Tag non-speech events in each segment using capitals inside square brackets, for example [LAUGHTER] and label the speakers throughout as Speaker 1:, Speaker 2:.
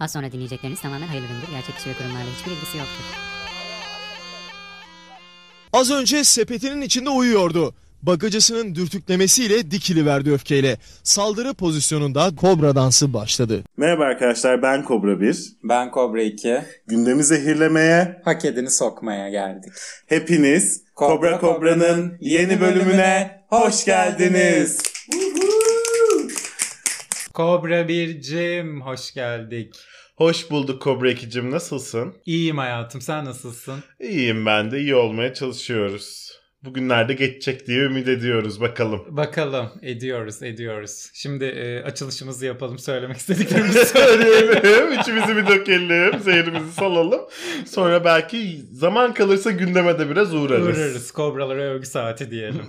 Speaker 1: Az sonra dinleyecekleriniz tamamen hayırlı üründür. Gerçek kişi ve kurumlarla hiçbir ilgisi yoktur.
Speaker 2: Az önce sepetinin içinde uyuyordu. Bagacısının dürtüklemesiyle dikiliverdi öfkeyle. Saldırı pozisyonunda kobra dansı başladı.
Speaker 3: Merhaba arkadaşlar ben Kobra 1.
Speaker 4: Ben Kobra 2.
Speaker 3: Gündemi zehirlemeye
Speaker 4: Hak edeni sokmaya geldik.
Speaker 3: hepiniz Kobra Kobra'nın yeni bölümüne hoş geldiniz.
Speaker 4: Kobra 1'cim hoş geldik.
Speaker 5: Hoş bulduk Kobra Ekicim nasılsın?
Speaker 4: İyiyim hayatım sen nasılsın?
Speaker 5: İyiyim ben de iyi olmaya çalışıyoruz. Bugünlerde geçecek diye ümit ediyoruz bakalım. [LAUGHS]
Speaker 4: Bakalım ediyoruz ediyoruz. Şimdi e, açılışımızı yapalım
Speaker 5: [LAUGHS]
Speaker 4: söylemek istediklerimizi söyleyelim.
Speaker 5: Söyleyelim, içimizi bir dökelim, zehrimizi salalım. Sonra belki zaman kalırsa gündeme de biraz uğrarız.
Speaker 4: Uğrarız kobralara övgü
Speaker 5: [LAUGHS]
Speaker 4: saati diyelim.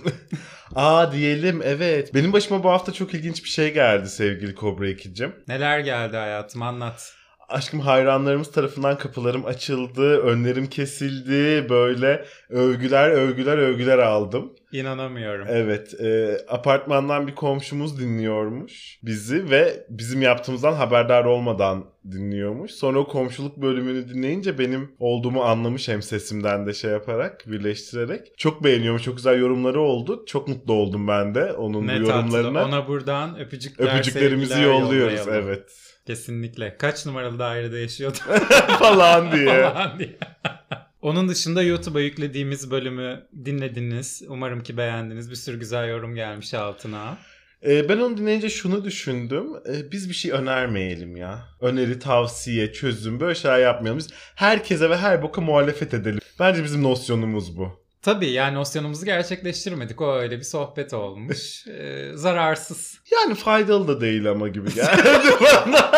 Speaker 5: Aa diyelim evet. Benim başıma bu hafta çok ilginç bir şey geldi sevgili Kobra Ekicim.
Speaker 4: Neler geldi hayatım anlat.
Speaker 5: Aşkım hayranlarımız tarafından kapılarım açıldı, önlerim kesildi, böyle övgüler övgüler övgüler aldım.
Speaker 4: İnanamıyorum.
Speaker 5: Evet. e, apartmandan bir komşumuz dinliyormuş bizi ve bizim yaptığımızdan haberdar olmadan dinliyormuş. Sonra o komşuluk bölümünü dinleyince benim olduğumu anlamış hem sesimden de şey yaparak, birleştirerek. Çok beğeniyormuş. Çok güzel yorumları oldu. Çok mutlu oldum ben de onun
Speaker 4: ne
Speaker 5: bu yorumlarına.
Speaker 4: tatlı. Ona buradan öpücükler,
Speaker 5: Öpücüklerimizi
Speaker 4: sevgiler
Speaker 5: yolluyoruz.
Speaker 4: yollayalım.
Speaker 5: Evet. [LAUGHS]
Speaker 4: Kesinlikle. Kaç numaralı dairede yaşıyordu?
Speaker 5: Falan diye.
Speaker 4: [LAUGHS] falan diye. Onun dışında YouTube'a yüklediğimiz bölümü dinlediniz. Umarım ki beğendiniz. Bir sürü güzel yorum gelmiş altına.
Speaker 5: E, ben onu dinleyince şunu düşündüm. E, biz bir şey önermeyelim ya. Öneri, tavsiye, çözüm böyle şeyler yapmayalım. Biz herkese ve her boka muhalefet edelim. Bence bizim nosyonumuz bu.
Speaker 4: Tabii yani nosyonumuzu gerçekleştirmedik. O öyle bir sohbet olmuş. Ee, zararsız.
Speaker 5: Yani faydalı da değil ama gibi
Speaker 4: [LAUGHS]
Speaker 5: geldi bana.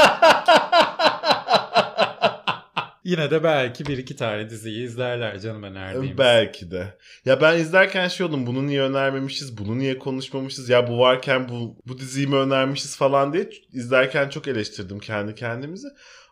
Speaker 4: Yine de belki bir iki tane diziyi izlerler canım
Speaker 5: [LAUGHS]
Speaker 4: önerdiğim.
Speaker 5: Belki de. Ya ben izlerken şey oldum. Bunu niye önermemişiz? Bunu niye konuşmamışız? Ya bu varken bu, bu diziyi mi önermişiz falan diye izlerken çok eleştirdim kendi kendimizi.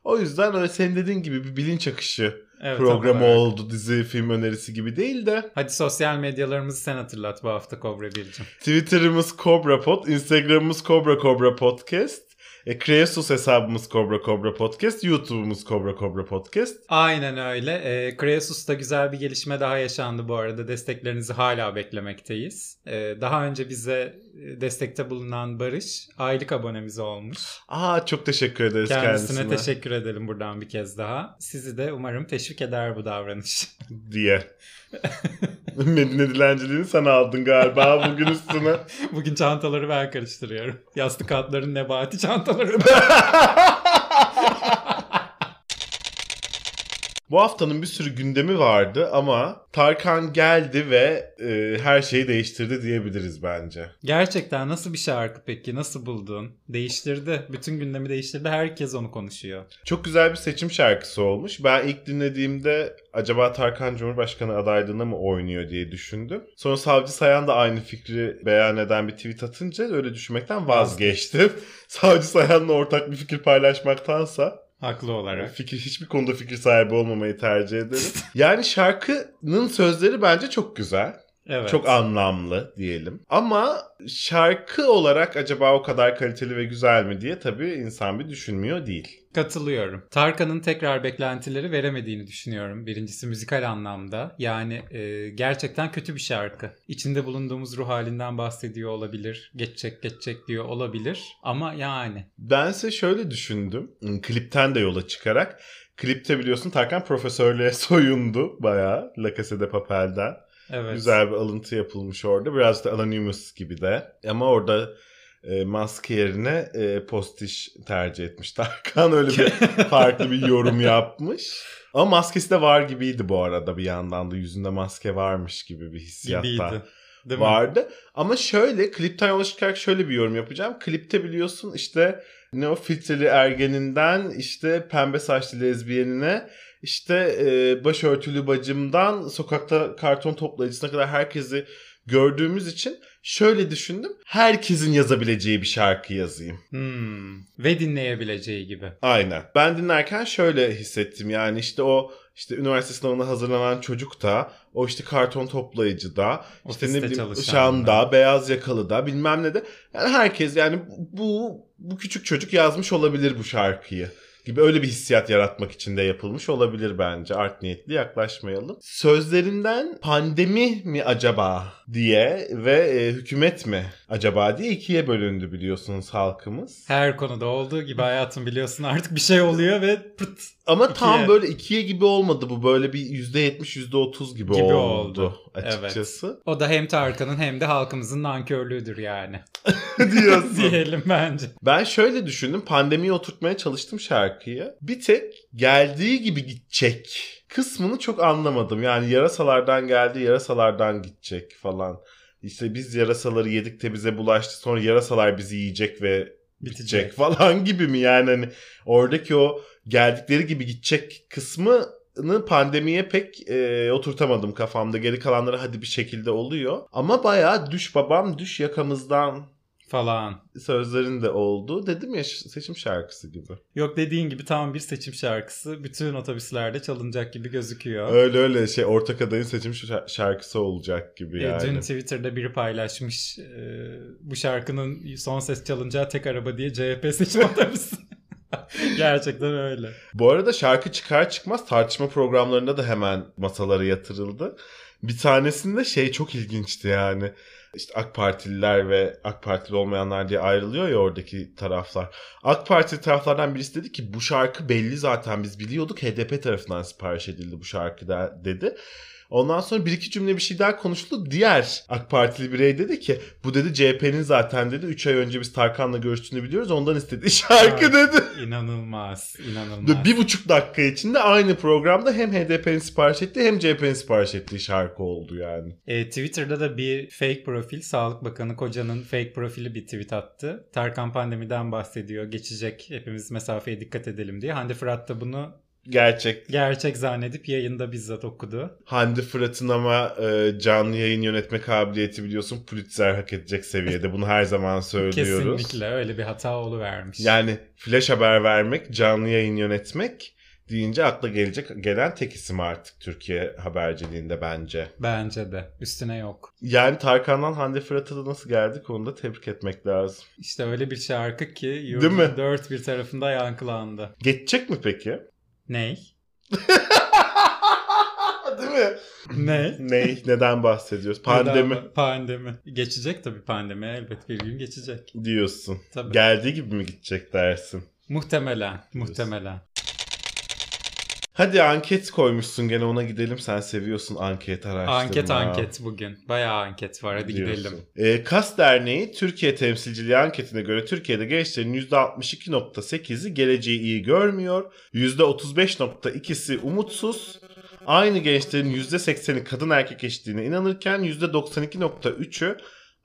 Speaker 5: O yüzden öyle senin dediğin gibi bir bilinç akışı
Speaker 4: Evet,
Speaker 5: programı
Speaker 4: tam olarak.
Speaker 5: oldu. Dizi, film önerisi gibi değil de.
Speaker 4: Hadi sosyal medyalarımızı sen hatırlat bu hafta Kobra Bircim.
Speaker 5: Twitter'ımız KobraPod, Instagram'ımız Kobra Kobra Podcast, e, Kreasus hesabımız Kobra Kobra Podcast, YouTube'umuz Kobra Kobra Podcast.
Speaker 4: Aynen öyle. Ee, Kreasus'ta güzel bir gelişme daha yaşandı bu arada. Desteklerinizi hala beklemekteyiz. Ee, daha önce bize e, destekte bulunan Barış aylık abonemiz olmuş.
Speaker 5: Aa çok teşekkür ederiz
Speaker 4: Kendisine,
Speaker 5: kendisine.
Speaker 4: teşekkür edelim buradan bir kez daha. Sizi de umarım teşvik eder bu davranış. [LAUGHS]
Speaker 5: Diye. [LAUGHS] Medine dilenciliğini sen aldın galiba bugün üstüne.
Speaker 4: Bugün çantaları ben karıştırıyorum. Yastık altların nebati çantaları.
Speaker 5: Bu haftanın bir sürü gündemi vardı ama Tarkan geldi ve e, her şeyi değiştirdi diyebiliriz bence.
Speaker 4: [LAUGHS] Gerçekten nasıl bir şarkı peki? Nasıl buldun? Değiştirdi. Bütün gündemi değiştirdi. Herkes onu konuşuyor.
Speaker 5: Çok güzel bir seçim şarkısı olmuş. Ben ilk dinlediğimde acaba Tarkan Cumhurbaşkanı adaylığına mı oynuyor diye düşündüm. Sonra Savcı Sayan da aynı fikri beyan eden bir tweet atınca öyle düşünmekten vazgeçtim. [LAUGHS] Savcı Sayan'la ortak bir fikir paylaşmaktansa
Speaker 4: Haklı olarak.
Speaker 5: fikir hiçbir konuda fikir sahibi olmamayı tercih ederim. yani şarkının sözleri bence çok güzel.
Speaker 4: Evet.
Speaker 5: Çok anlamlı diyelim. Ama şarkı olarak acaba o kadar kaliteli ve güzel mi diye tabii insan bir düşünmüyor değil.
Speaker 4: Katılıyorum. Tarkan'ın tekrar beklentileri veremediğini düşünüyorum. Birincisi müzikal anlamda. Yani e, gerçekten kötü bir şarkı. İçinde bulunduğumuz ruh halinden bahsediyor olabilir. Geçecek geçecek diyor olabilir. Ama yani.
Speaker 5: Bense şöyle düşündüm. Hmm, Klipten de yola çıkarak. Klipte biliyorsun Tarkan profesörlüğe [LAUGHS] soyundu bayağı. La Casa de Papel'den.
Speaker 4: Evet.
Speaker 5: Güzel bir alıntı yapılmış orada. Biraz da Anonymous gibi de. Ama orada e, maske yerine e, postiş tercih etmiş [LAUGHS] Tarkan.
Speaker 4: [LAUGHS]
Speaker 5: Öyle bir farklı bir yorum yapmış. Ama maskesi de var gibiydi bu arada bir yandan da. Yüzünde maske varmış gibi bir hissiyatta
Speaker 4: gibiydi. Değil mi?
Speaker 5: vardı. Ama şöyle klipten yola çıkarak şöyle bir yorum yapacağım. Klipte biliyorsun işte ne o filtreli ergeninden işte pembe saçlı lezbiyenine işte e, başörtülü bacımdan sokakta karton toplayıcısına kadar herkesi gördüğümüz için şöyle düşündüm. Herkesin yazabileceği bir şarkı yazayım.
Speaker 4: Hmm. Ve dinleyebileceği gibi.
Speaker 5: Aynen. Ben dinlerken şöyle hissettim yani işte o işte üniversite sınavına hazırlanan çocuk da o işte karton toplayıcı da işte
Speaker 4: Ofiste
Speaker 5: ne bileyim
Speaker 4: çalışan
Speaker 5: ışan
Speaker 4: da.
Speaker 5: da beyaz yakalı da bilmem ne de yani herkes yani bu bu küçük çocuk yazmış olabilir bu şarkıyı gibi öyle bir hissiyat yaratmak için de yapılmış olabilir bence. Art niyetli yaklaşmayalım. Sözlerinden pandemi mi acaba diye ve e, hükümet mi acaba diye ikiye bölündü biliyorsunuz halkımız.
Speaker 4: Her konuda olduğu gibi hayatım biliyorsun artık bir şey oluyor ve pıt
Speaker 5: Ama tam
Speaker 4: İkiye.
Speaker 5: böyle ikiye gibi olmadı bu. Böyle bir %70 %30 gibi,
Speaker 4: Gibi
Speaker 5: oldu,
Speaker 4: oldu. [LAUGHS]
Speaker 5: açıkçası.
Speaker 4: O da hem Tarkan'ın hem de halkımızın nankörlüğüdür yani.
Speaker 5: Diyorsun.
Speaker 4: [LAUGHS] Diyelim bence.
Speaker 5: Ben şöyle düşündüm. Pandemiyi oturtmaya çalıştım şarkıyı. Bir tek geldiği gibi gidecek kısmını çok anlamadım. Yani yarasalardan geldi, yarasalardan gidecek falan. İşte biz yarasaları yedik de bize bulaştı. Sonra yarasalar bizi yiyecek ve bitecek [LAUGHS]
Speaker 4: Bitecek.
Speaker 5: falan gibi mi? Yani hani oradaki o geldikleri gibi gidecek kısmını pandemiye pek e, oturtamadım kafamda. Geri kalanları hadi bir şekilde oluyor. Ama bayağı düş babam düş yakamızdan
Speaker 4: Falan.
Speaker 5: sözlerin de oldu. Dedim ya ş- seçim şarkısı gibi.
Speaker 4: Yok dediğin gibi tam bir seçim şarkısı. Bütün otobüslerde çalınacak gibi gözüküyor.
Speaker 5: Öyle öyle şey ortak adayın seçim şa- şarkısı olacak gibi
Speaker 4: E,
Speaker 5: yani.
Speaker 4: Dün Twitter'da biri paylaşmış e, bu şarkının son ses çalınacağı tek araba diye CHP seçim [LAUGHS] otobüsü. Gerçekten öyle.
Speaker 5: Bu arada şarkı çıkar çıkmaz tartışma programlarında da hemen masalara yatırıldı. Bir tanesinde şey çok ilginçti yani. İşte AK Partililer ve AK Partili olmayanlar diye ayrılıyor ya oradaki taraflar. AK Partili taraflardan birisi dedi ki bu şarkı belli zaten biz biliyorduk HDP tarafından sipariş edildi bu şarkı da dedi. Ondan sonra bir iki cümle bir şey daha konuştu. Diğer AK Partili birey dedi ki bu dedi CHP'nin zaten dedi 3 ay önce biz Tarkan'la görüştüğünü biliyoruz ondan istediği [LAUGHS] şarkı
Speaker 4: Ay.
Speaker 5: dedi.
Speaker 4: İnanılmaz. inanılmaz.
Speaker 5: Ve bir buçuk dakika içinde aynı programda hem HDP'nin sipariş ettiği hem CHP'nin sipariş ettiği şarkı oldu yani.
Speaker 4: E, Twitter'da da bir fake profil, Sağlık Bakanı Koca'nın fake profili bir tweet attı. Tarkan pandemiden bahsediyor, geçecek, hepimiz mesafeye dikkat edelim diye. Hande Fırat da bunu
Speaker 5: Gerçek.
Speaker 4: gerçek zannedip yayında bizzat okudu.
Speaker 5: Hande Fırat'ın ama e, canlı yayın yönetme kabiliyeti biliyorsun Pulitzer hak edecek seviyede. Bunu her zaman söylüyoruz.
Speaker 4: Kesinlikle öyle bir hata oluvermiş.
Speaker 5: Yani flash haber vermek, canlı yayın yönetmek deyince akla gelecek gelen tek isim artık Türkiye haberciliğinde bence.
Speaker 4: Bence de. Üstüne yok.
Speaker 5: Yani Tarkan'dan Hande Fırat'a da nasıl geldik onu da tebrik etmek lazım.
Speaker 4: İşte öyle bir şarkı ki
Speaker 5: Değil mi?
Speaker 4: yurdun dört bir tarafında yankılandı.
Speaker 5: Geçecek mi peki?
Speaker 4: Ney?
Speaker 5: [LAUGHS] Değil mi?
Speaker 4: Ney?
Speaker 5: Ne? Neden bahsediyoruz? Pandemi
Speaker 4: Neden- Pandemi. Geçecek tabii pandemi elbet bir gün geçecek.
Speaker 5: diyorsun.
Speaker 4: Tabii.
Speaker 5: Geldiği gibi mi gidecek dersin?
Speaker 4: muhtemelen. Muhtemelen.
Speaker 5: Hadi anket koymuşsun gene ona gidelim. Sen seviyorsun anket araştırma.
Speaker 4: Anket anket bugün. Bayağı anket var. Hadi
Speaker 5: Diyorsun.
Speaker 4: gidelim.
Speaker 5: Ee, Kas Derneği Türkiye temsilciliği anketine göre Türkiye'de gençlerin %62.8'i geleceği iyi görmüyor. %35.2'si umutsuz. Aynı gençlerin %80'i kadın erkek eşitliğine inanırken %92.3'ü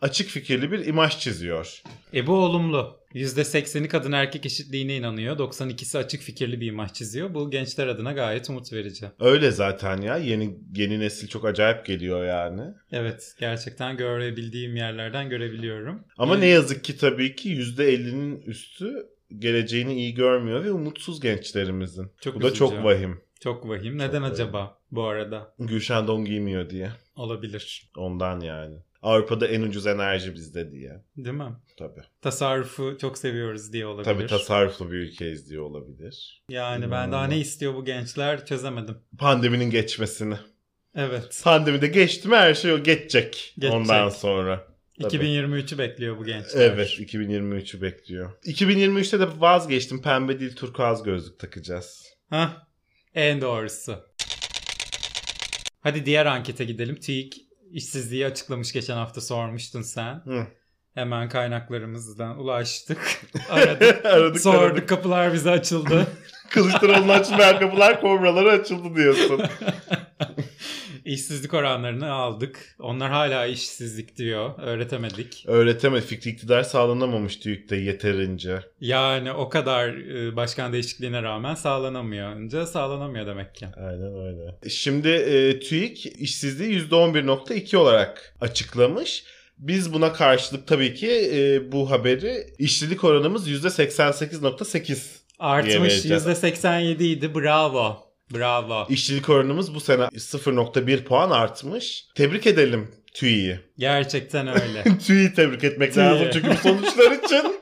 Speaker 5: açık fikirli bir imaj çiziyor.
Speaker 4: E bu olumlu. %80'i kadın erkek eşitliğine inanıyor. 92'si açık fikirli bir imaj çiziyor. Bu gençler adına gayet umut verici.
Speaker 5: Öyle zaten ya. Yeni yeni nesil çok acayip geliyor yani.
Speaker 4: Evet gerçekten görebildiğim yerlerden görebiliyorum.
Speaker 5: Ama
Speaker 4: Ee,
Speaker 5: ne yazık ki tabii ki %50'nin üstü geleceğini iyi görmüyor ve umutsuz gençlerimizin.
Speaker 4: Çok
Speaker 5: Bu da
Speaker 4: üzücü.
Speaker 5: çok vahim.
Speaker 4: Çok vahim. Neden
Speaker 5: vahim.
Speaker 4: acaba bu arada?
Speaker 5: Gülşen don giymiyor diye.
Speaker 4: Olabilir.
Speaker 5: Ondan yani. Avrupa'da en ucuz enerji bizde diye.
Speaker 4: Değil mi?
Speaker 5: Tabii.
Speaker 4: Tasarrufu çok seviyoruz diye olabilir.
Speaker 5: Tabii tasarruflu bir ülkeyiz diye olabilir.
Speaker 4: Yani ben daha ne istiyor bu gençler çözemedim.
Speaker 5: Pandeminin geçmesini.
Speaker 4: Evet.
Speaker 5: Pandemi de geçti mi her şey o geçecek.
Speaker 4: Geçecek.
Speaker 5: Ondan sonra. Tabii.
Speaker 4: 2023'ü bekliyor bu gençler.
Speaker 5: Evet 2023'ü bekliyor. 2023'te de vazgeçtim. Pembe değil turkuaz gözlük takacağız.
Speaker 4: Hah. En doğrusu. Hadi diğer ankete gidelim. TÜİK işsizliği açıklamış geçen hafta sormuştun sen.
Speaker 5: Hı.
Speaker 4: Hemen kaynaklarımızdan
Speaker 5: [LAUGHS]
Speaker 4: ulaştık. Aradık.
Speaker 5: aradık
Speaker 4: sorduk
Speaker 5: aradık.
Speaker 4: kapılar bize açıldı.
Speaker 5: [LAUGHS] Kılıçdaroğlu'nun açmayan kapılar kobraları açıldı diyorsun.
Speaker 4: İşsizlik oranlarını aldık. Onlar hala işsizlik diyor. Öğretemedik.
Speaker 5: Öğreteme fikri iktidar sağlanamamış TÜİK'te yeterince.
Speaker 4: Yani o kadar e, başkan değişikliğine rağmen sağlanamıyor. Önce sağlanamıyor demek ki.
Speaker 5: Aynen öyle. Şimdi e, TÜİK işsizliği %11.2 olarak açıklamış. Biz buna karşılık tabii ki e, bu haberi işsizlik oranımız %88.8.
Speaker 4: Artmış
Speaker 5: Diyemeyeceğim.
Speaker 4: %87 idi. Bravo. Bravo.
Speaker 5: İşsizlik oranımız bu sene 0.1 puan artmış. Tebrik edelim TÜİK'i.
Speaker 4: Gerçekten
Speaker 5: [LAUGHS]
Speaker 4: öyle.
Speaker 5: TÜİK'i tebrik etmek [LAUGHS]
Speaker 4: TÜİK'i.
Speaker 5: lazım çünkü bu sonuçlar için.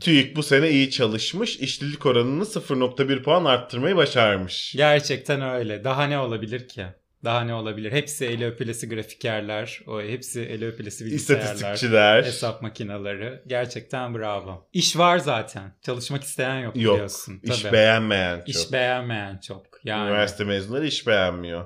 Speaker 5: TÜİK bu sene iyi çalışmış. işsizlik oranını 0.1 puan arttırmayı başarmış.
Speaker 4: Gerçekten öyle. Daha ne olabilir ki? Daha ne olabilir? Hepsi eli öpülesi grafikerler. O hepsi eli öpülesi bilgisayarlar.
Speaker 5: İstatistikçiler.
Speaker 4: Hesap makineleri. Gerçekten bravo. İş var zaten. Çalışmak isteyen yok,
Speaker 5: Yok.
Speaker 4: biliyorsun.
Speaker 5: İş
Speaker 4: Tabii.
Speaker 5: beğenmeyen çok.
Speaker 4: İş beğenmeyen çok. Yani
Speaker 5: Üniversite mezunları iş beğenmiyor.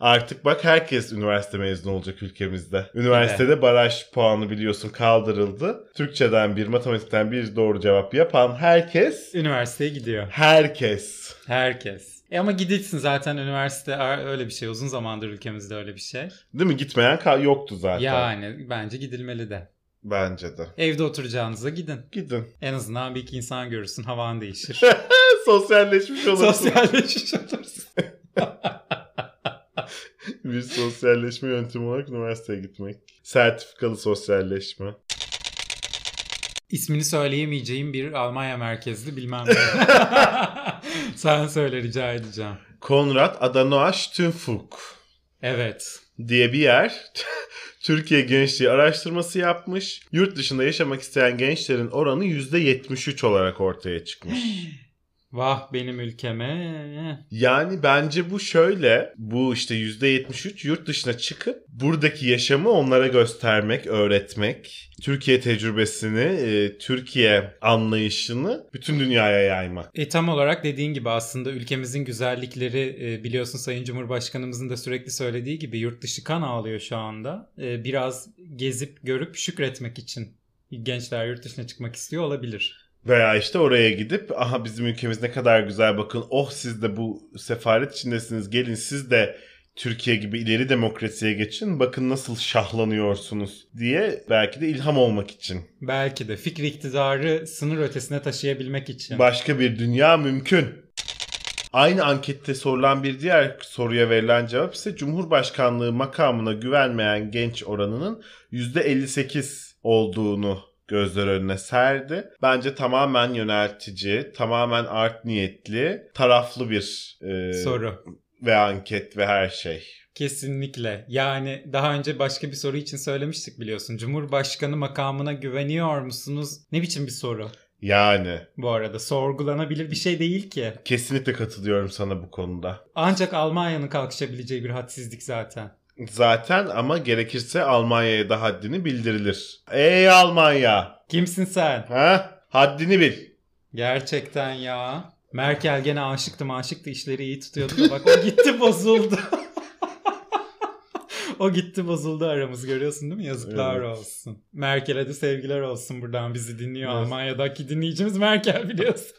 Speaker 5: Artık bak herkes üniversite mezunu olacak ülkemizde. Üniversitede baraj puanı biliyorsun kaldırıldı. Türkçeden bir, matematikten bir doğru cevap yapan herkes,
Speaker 4: üniversiteye gidiyor.
Speaker 5: herkes.
Speaker 4: Herkes. E ama gidilsin zaten üniversite a- öyle bir şey. Uzun zamandır ülkemizde öyle bir şey.
Speaker 5: Değil mi? Gitmeyen ka- yoktu zaten.
Speaker 4: Yani bence gidilmeli de.
Speaker 5: Bence de.
Speaker 4: Evde oturacağınıza gidin.
Speaker 5: Gidin.
Speaker 4: En azından bir iki insan görürsün. Havan değişir.
Speaker 5: Sosyalleşmiş olursun.
Speaker 4: Sosyalleşmiş olursun.
Speaker 5: [LAUGHS] bir sosyalleşme yöntemi olarak üniversiteye gitmek. Sertifikalı sosyalleşme.
Speaker 4: [LAUGHS] İsmini söyleyemeyeceğim bir Almanya merkezli bilmem ne. [LAUGHS] Sen söyle rica edeceğim.
Speaker 5: Konrad Adenauer Stünfuk.
Speaker 4: Evet.
Speaker 5: diye bir yer [LAUGHS] Türkiye Gençliği Araştırması yapmış. Yurt dışında yaşamak isteyen gençlerin oranı %73 olarak ortaya çıkmış.
Speaker 4: Vah benim ülkeme.
Speaker 5: Yani bence bu şöyle. Bu işte %73 yurt dışına çıkıp buradaki yaşamı onlara göstermek, öğretmek. Türkiye tecrübesini, e, Türkiye anlayışını bütün dünyaya yaymak.
Speaker 4: E tam olarak dediğin gibi aslında ülkemizin güzellikleri e, biliyorsun Sayın Cumhurbaşkanımızın da sürekli söylediği gibi yurt dışı kan ağlıyor şu anda. E, biraz gezip görüp şükretmek için gençler yurt dışına çıkmak istiyor olabilir.
Speaker 5: Veya işte oraya gidip aha bizim ülkemiz ne kadar güzel bakın oh siz de bu sefaret içindesiniz gelin siz de Türkiye gibi ileri demokrasiye geçin bakın nasıl şahlanıyorsunuz diye belki de ilham olmak için.
Speaker 4: Belki de fikri iktidarı sınır ötesine taşıyabilmek için.
Speaker 5: Başka bir dünya mümkün. Aynı ankette sorulan bir diğer soruya verilen cevap ise Cumhurbaşkanlığı makamına güvenmeyen genç oranının %58 olduğunu gözler önüne serdi. Bence tamamen yöneltici, tamamen art niyetli, taraflı bir e,
Speaker 4: Soru.
Speaker 5: ve anket ve her şey.
Speaker 4: Kesinlikle. Yani daha önce başka bir soru için söylemiştik biliyorsun. Cumhurbaşkanı makamına güveniyor musunuz? Ne biçim bir soru?
Speaker 5: Yani
Speaker 4: Bu arada sorgulanabilir bir şey değil ki.
Speaker 5: kesinlikle katılıyorum sana bu konuda.
Speaker 4: Ancak Almanya'nın kalkışabileceği bir hadsizlik zaten.
Speaker 5: Zaten ama gerekirse Almanya'ya da haddini bildirilir. Ey Almanya!
Speaker 4: Kimsin sen?
Speaker 5: Ha? Haddini bil. [LAUGHS]
Speaker 4: Gerçekten ya. Merkel gene aşıktı maşıktı işleri iyi tutuyordu da bak o gitti bozuldu. o gitti bozuldu aramız görüyorsun değil mi? Yazıklar
Speaker 5: Evet.
Speaker 4: olsun. Merkel'e de sevgiler olsun buradan bizi dinliyor.
Speaker 5: Yaz-
Speaker 4: Almanya'daki dinleyicimiz Merkel biliyorsun.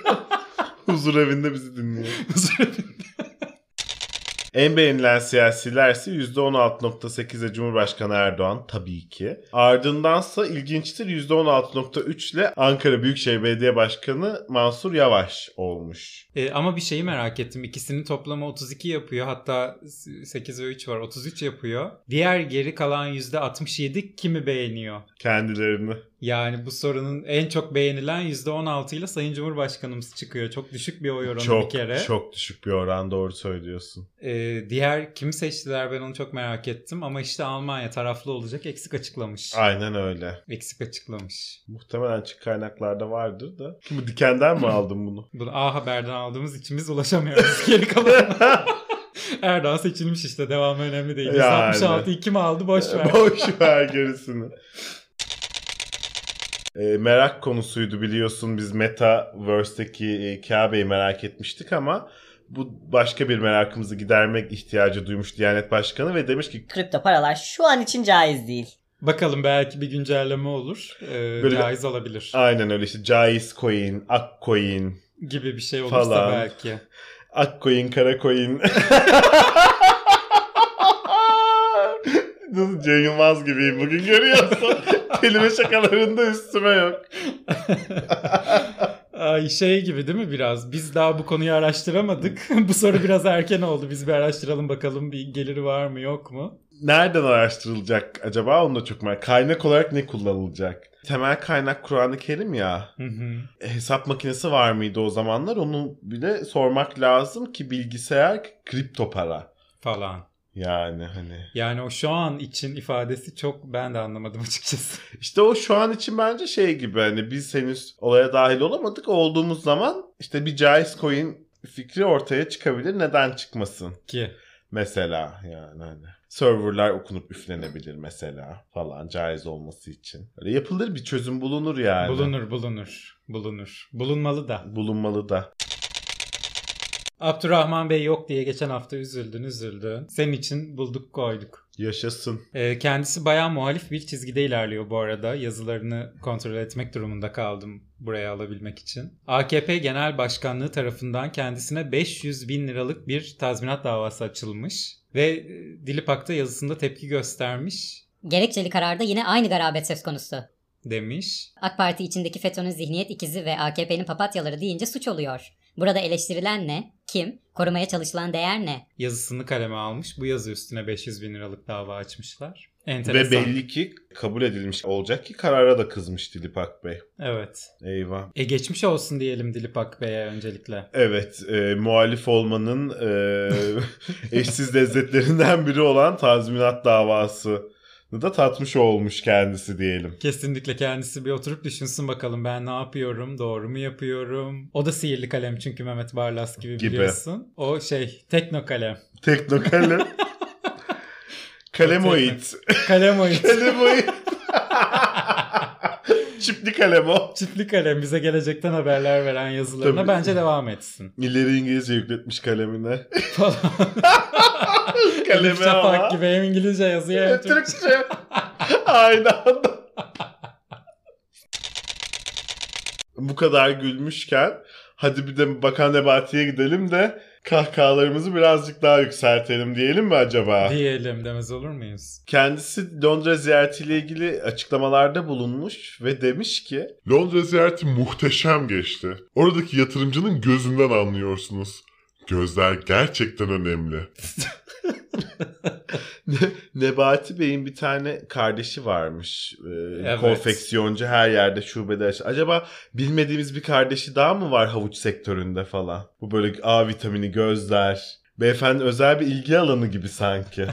Speaker 4: [LAUGHS]
Speaker 5: Huzur evinde bizi dinliyor. En beğenilen siyasilerse %16.8'e Cumhurbaşkanı Erdoğan tabii ki. Ardındansa ilginçtir %16.3 ile Ankara Büyükşehir Belediye Başkanı Mansur Yavaş olmuş.
Speaker 4: E, ama bir şeyi merak ettim. İkisinin toplamı 32 yapıyor. Hatta 8 ve 3 var. 33 yapıyor. Diğer geri kalan %67 kimi beğeniyor?
Speaker 5: Kendilerini.
Speaker 4: Yani bu sorunun en çok beğenilen %16 ile Sayın Cumhurbaşkanımız çıkıyor. Çok düşük bir oy oranı
Speaker 5: çok
Speaker 4: bir kere.
Speaker 5: çok düşük bir oran doğru söylüyorsun.
Speaker 4: E, diğer kimi seçtiler ben onu çok merak ettim. Ama işte Almanya taraflı olacak eksik açıklamış.
Speaker 5: Aynen öyle.
Speaker 4: Eksik açıklamış.
Speaker 5: Muhtemelen açık kaynaklarda vardır da. Kim dikenden mi aldın bunu? [LAUGHS]
Speaker 4: Bunu A Haber'den aldığımız için biz ulaşamıyoruz [LAUGHS] geri kalanına. Erdoğan seçilmiş işte devamı önemli değil.
Speaker 5: Yani.
Speaker 4: 166 kim aldı boş ver.
Speaker 5: Ee, Boş ver gerisini. E, merak konusuydu biliyorsun biz Metaverse'deki e, Kabe'yi merak etmiştik ama bu başka bir merakımızı gidermek ihtiyacı duymuş Diyanet Başkanı ve demiş ki
Speaker 6: Kripto paralar şu an için caiz değil.
Speaker 4: Bakalım belki bir güncelleme olur. Ee,
Speaker 5: Böyle-
Speaker 4: caiz olabilir.
Speaker 5: aynen öyle işte caiz coin, ak coin,
Speaker 4: gibi bir şey olursa
Speaker 5: Falan.
Speaker 4: belki.
Speaker 5: ak coin, kara coin. [LAUGHS] Nasıl Cem Yılmaz gibiyim bugün görüyorsun. [LAUGHS] Kelime şakalarında üstüme yok.
Speaker 4: Ay şey gibi değil mi biraz? Biz daha bu konuyu araştıramadık. [LAUGHS] bu soru biraz erken oldu. Biz bir araştıralım bakalım bir geliri var mı yok mu?
Speaker 5: Nereden araştırılacak acaba? Onu da çok merak. Kaynak olarak ne kullanılacak? Temel kaynak Kur'an-ı Kerim ya.
Speaker 4: Hı hı.
Speaker 5: E, Hesap makinesi var mıydı o zamanlar? Onu bile sormak lazım ki bilgisayar kripto para.
Speaker 4: Falan.
Speaker 5: Yani hani.
Speaker 4: Yani o şu an için ifadesi çok ben de anlamadım [LAUGHS] açıkçası.
Speaker 5: İşte o şu an için bence şey gibi hani biz henüz olaya dahil olamadık. Olduğumuz zaman işte bir Jais Coin fikri ortaya çıkabilir. Neden çıkmasın?
Speaker 4: Ki
Speaker 5: Mesela yani hani. Serverlar okunup üflenebilir mesela falan caiz olması için. Öyle yapılır bir çözüm bulunur yani.
Speaker 4: bulunur bulunur bulunur. Bulunmalı da.
Speaker 5: Bulunmalı da.
Speaker 4: Abdurrahman Bey yok diye geçen hafta üzüldün üzüldün. Senin için bulduk koyduk.
Speaker 5: Yaşasın.
Speaker 4: Ee, Kendisi bayağı muhalif bir çizgide ilerliyor bu arada. Yazılarını kontrol etmek durumunda kaldım buraya alabilmek için. AKP Genel Başkanlığı tarafından kendisine 500 bin liralık bir tazminat davası açılmış. Ve e, Dilipak'ta yazısında tepki göstermiş
Speaker 1: Gerekçeli kararda yine aynı garabet söz konusu.
Speaker 4: demiş.
Speaker 1: AK Parti içindeki FETÖ'nün zihniyet ikizi ve AKP'nin papatyaları deyince suç oluyor. Burada eleştirilen ne? Kim? Korumaya çalışılan değer ne?
Speaker 4: Yazısını kaleme almış. Bu yazı üstüne 500 bin liralık dava açmışlar.
Speaker 5: Ve
Speaker 4: Enteresan.
Speaker 5: belli ki kabul edilmiş olacak ki karara da kızmış Dilipak Bey.
Speaker 4: Evet.
Speaker 5: Eyvah.
Speaker 4: E geçmiş olsun diyelim Dilipak Bey'e öncelikle.
Speaker 5: Evet, e, muhalif olmanın e, eşsiz lezzetlerinden biri olan tazminat davasını da tatmış olmuş kendisi diyelim.
Speaker 4: Kesinlikle kendisi bir oturup düşünsün bakalım ben ne yapıyorum, doğru mu yapıyorum? O da sihirli kalem çünkü Mehmet Barlas gibi,
Speaker 5: Gibi.
Speaker 4: biliyorsun. O şey tekno kalem. [LAUGHS]
Speaker 5: Teknokalem. Kalemoid.
Speaker 4: Kalem oyun.
Speaker 5: Kalemoid. [LAUGHS] Çipli kalem o.
Speaker 4: Çiftli kalem bize gelecekten haberler veren yazılarına
Speaker 5: Tabii.
Speaker 4: bence devam etsin.
Speaker 5: İleri İngilizce yükletmiş kalemine.
Speaker 4: Falan.
Speaker 5: [LAUGHS]
Speaker 4: Elif
Speaker 5: Kaleme
Speaker 4: Şafak
Speaker 5: ama.
Speaker 4: gibi şey. hem İngilizce yazıyor hem Türkçe.
Speaker 5: Türkçe. Aynı anda. Bu kadar gülmüşken hadi bir de Bakan Nebati'ye gidelim de kahkahalarımızı birazcık daha yükseltelim diyelim mi acaba?
Speaker 4: diyelim demez olur muyuz?
Speaker 5: Kendisi Londra ziyaretiyle ilgili açıklamalarda bulunmuş ve demiş ki
Speaker 7: Londra ziyareti muhteşem geçti. Oradaki yatırımcının gözünden anlıyorsunuz. Gözler gerçekten önemli.
Speaker 5: [LAUGHS] Ne- Nebati Bey'in bir tane kardeşi varmış. Ee,
Speaker 4: Evet.
Speaker 5: Konfeksiyoncu her yerde şubede. aç- Acaba bilmediğimiz bir kardeşi daha mı var havuç sektöründe falan? Bu böyle A vitamini gözler. Beyefendi özel bir ilgi alanı gibi sanki.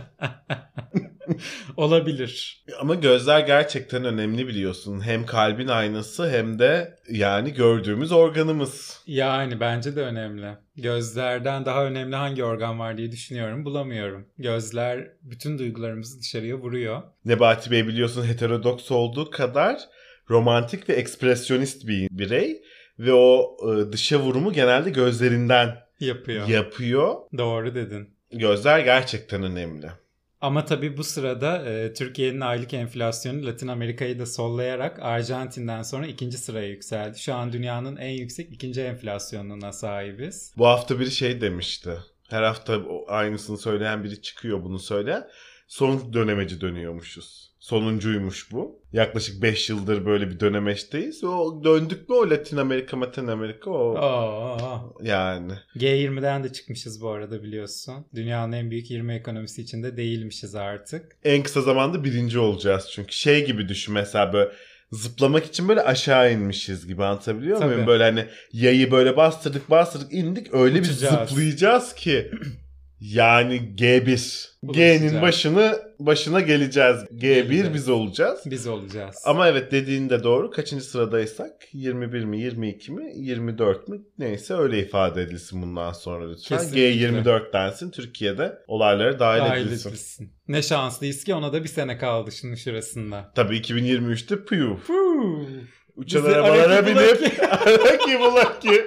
Speaker 4: Olabilir.
Speaker 5: Ama gözler gerçekten önemli biliyorsun. Hem kalbin aynası hem de yani gördüğümüz organımız.
Speaker 4: Yani bence de önemli. Gözlerden daha önemli hangi organ var diye düşünüyorum. Bulamıyorum. Gözler bütün duygularımızı dışarıya vuruyor.
Speaker 5: Nebati Bey biliyorsun heterodoks olduğu kadar romantik ve ekspresyonist bir birey. Ve o e, dışa vurumu genelde gözlerinden
Speaker 4: Yapıyor.
Speaker 5: yapıyor.
Speaker 4: Doğru dedin.
Speaker 5: Gözler gerçekten önemli.
Speaker 4: Ama tabii bu sırada e, Türkiye'nin aylık enflasyonu Latin Amerika'yı da sollayarak Arjantin'den sonra ikinci sıraya yükseldi. Şu an dünyanın en yüksek ikinci enflasyonuna sahibiz.
Speaker 5: Bu hafta biri şey demişti. Her hafta o- aynısını söyleyen biri çıkıyor bunu söyleyen. Son dönemeci dönüyormuşuz. Sonuncuymuş bu. Yaklaşık 5 yıldır böyle bir dönemeçteyiz. O döndük mü o Latin Amerika, Latin Amerika o
Speaker 4: Oo.
Speaker 5: yani.
Speaker 4: G20'den de çıkmışız bu arada biliyorsun. Dünyanın en büyük 20 ekonomisi içinde değilmişiz artık.
Speaker 5: En kısa zamanda birinci olacağız çünkü şey gibi düşün mesela böyle zıplamak için böyle aşağı inmişiz gibi anlatabiliyor
Speaker 4: Tabii.
Speaker 5: muyum? Böyle hani yayı böyle bastırdık bastırdık indik öyle bir
Speaker 4: Uçacağız.
Speaker 5: zıplayacağız ki [CLEARS THROAT] yani G1. G'nin
Speaker 4: Uçacağız.
Speaker 5: başını başına geleceğiz. G1
Speaker 4: Geleceğiz.
Speaker 5: biz olacağız.
Speaker 4: Biz olacağız.
Speaker 5: Ama evet dediğin de doğru. Kaçıncı sıradaysak 21 mi 22 mi 24 mi neyse öyle ifade edilsin bundan sonra lütfen.
Speaker 4: Kesinlikle.
Speaker 5: G24 densin Türkiye'de olaylara dahil,
Speaker 4: Dahil
Speaker 5: edilsin.
Speaker 4: edilsin. Ne şanslıyız ki ona da bir sene kaldı şunun şurasında.
Speaker 5: Tabii 2023'te piyu.
Speaker 4: Fuuu.
Speaker 5: Uçan
Speaker 4: Bizi
Speaker 5: arabalara
Speaker 4: Araki
Speaker 5: [LAUGHS] binip Araki Bulaki.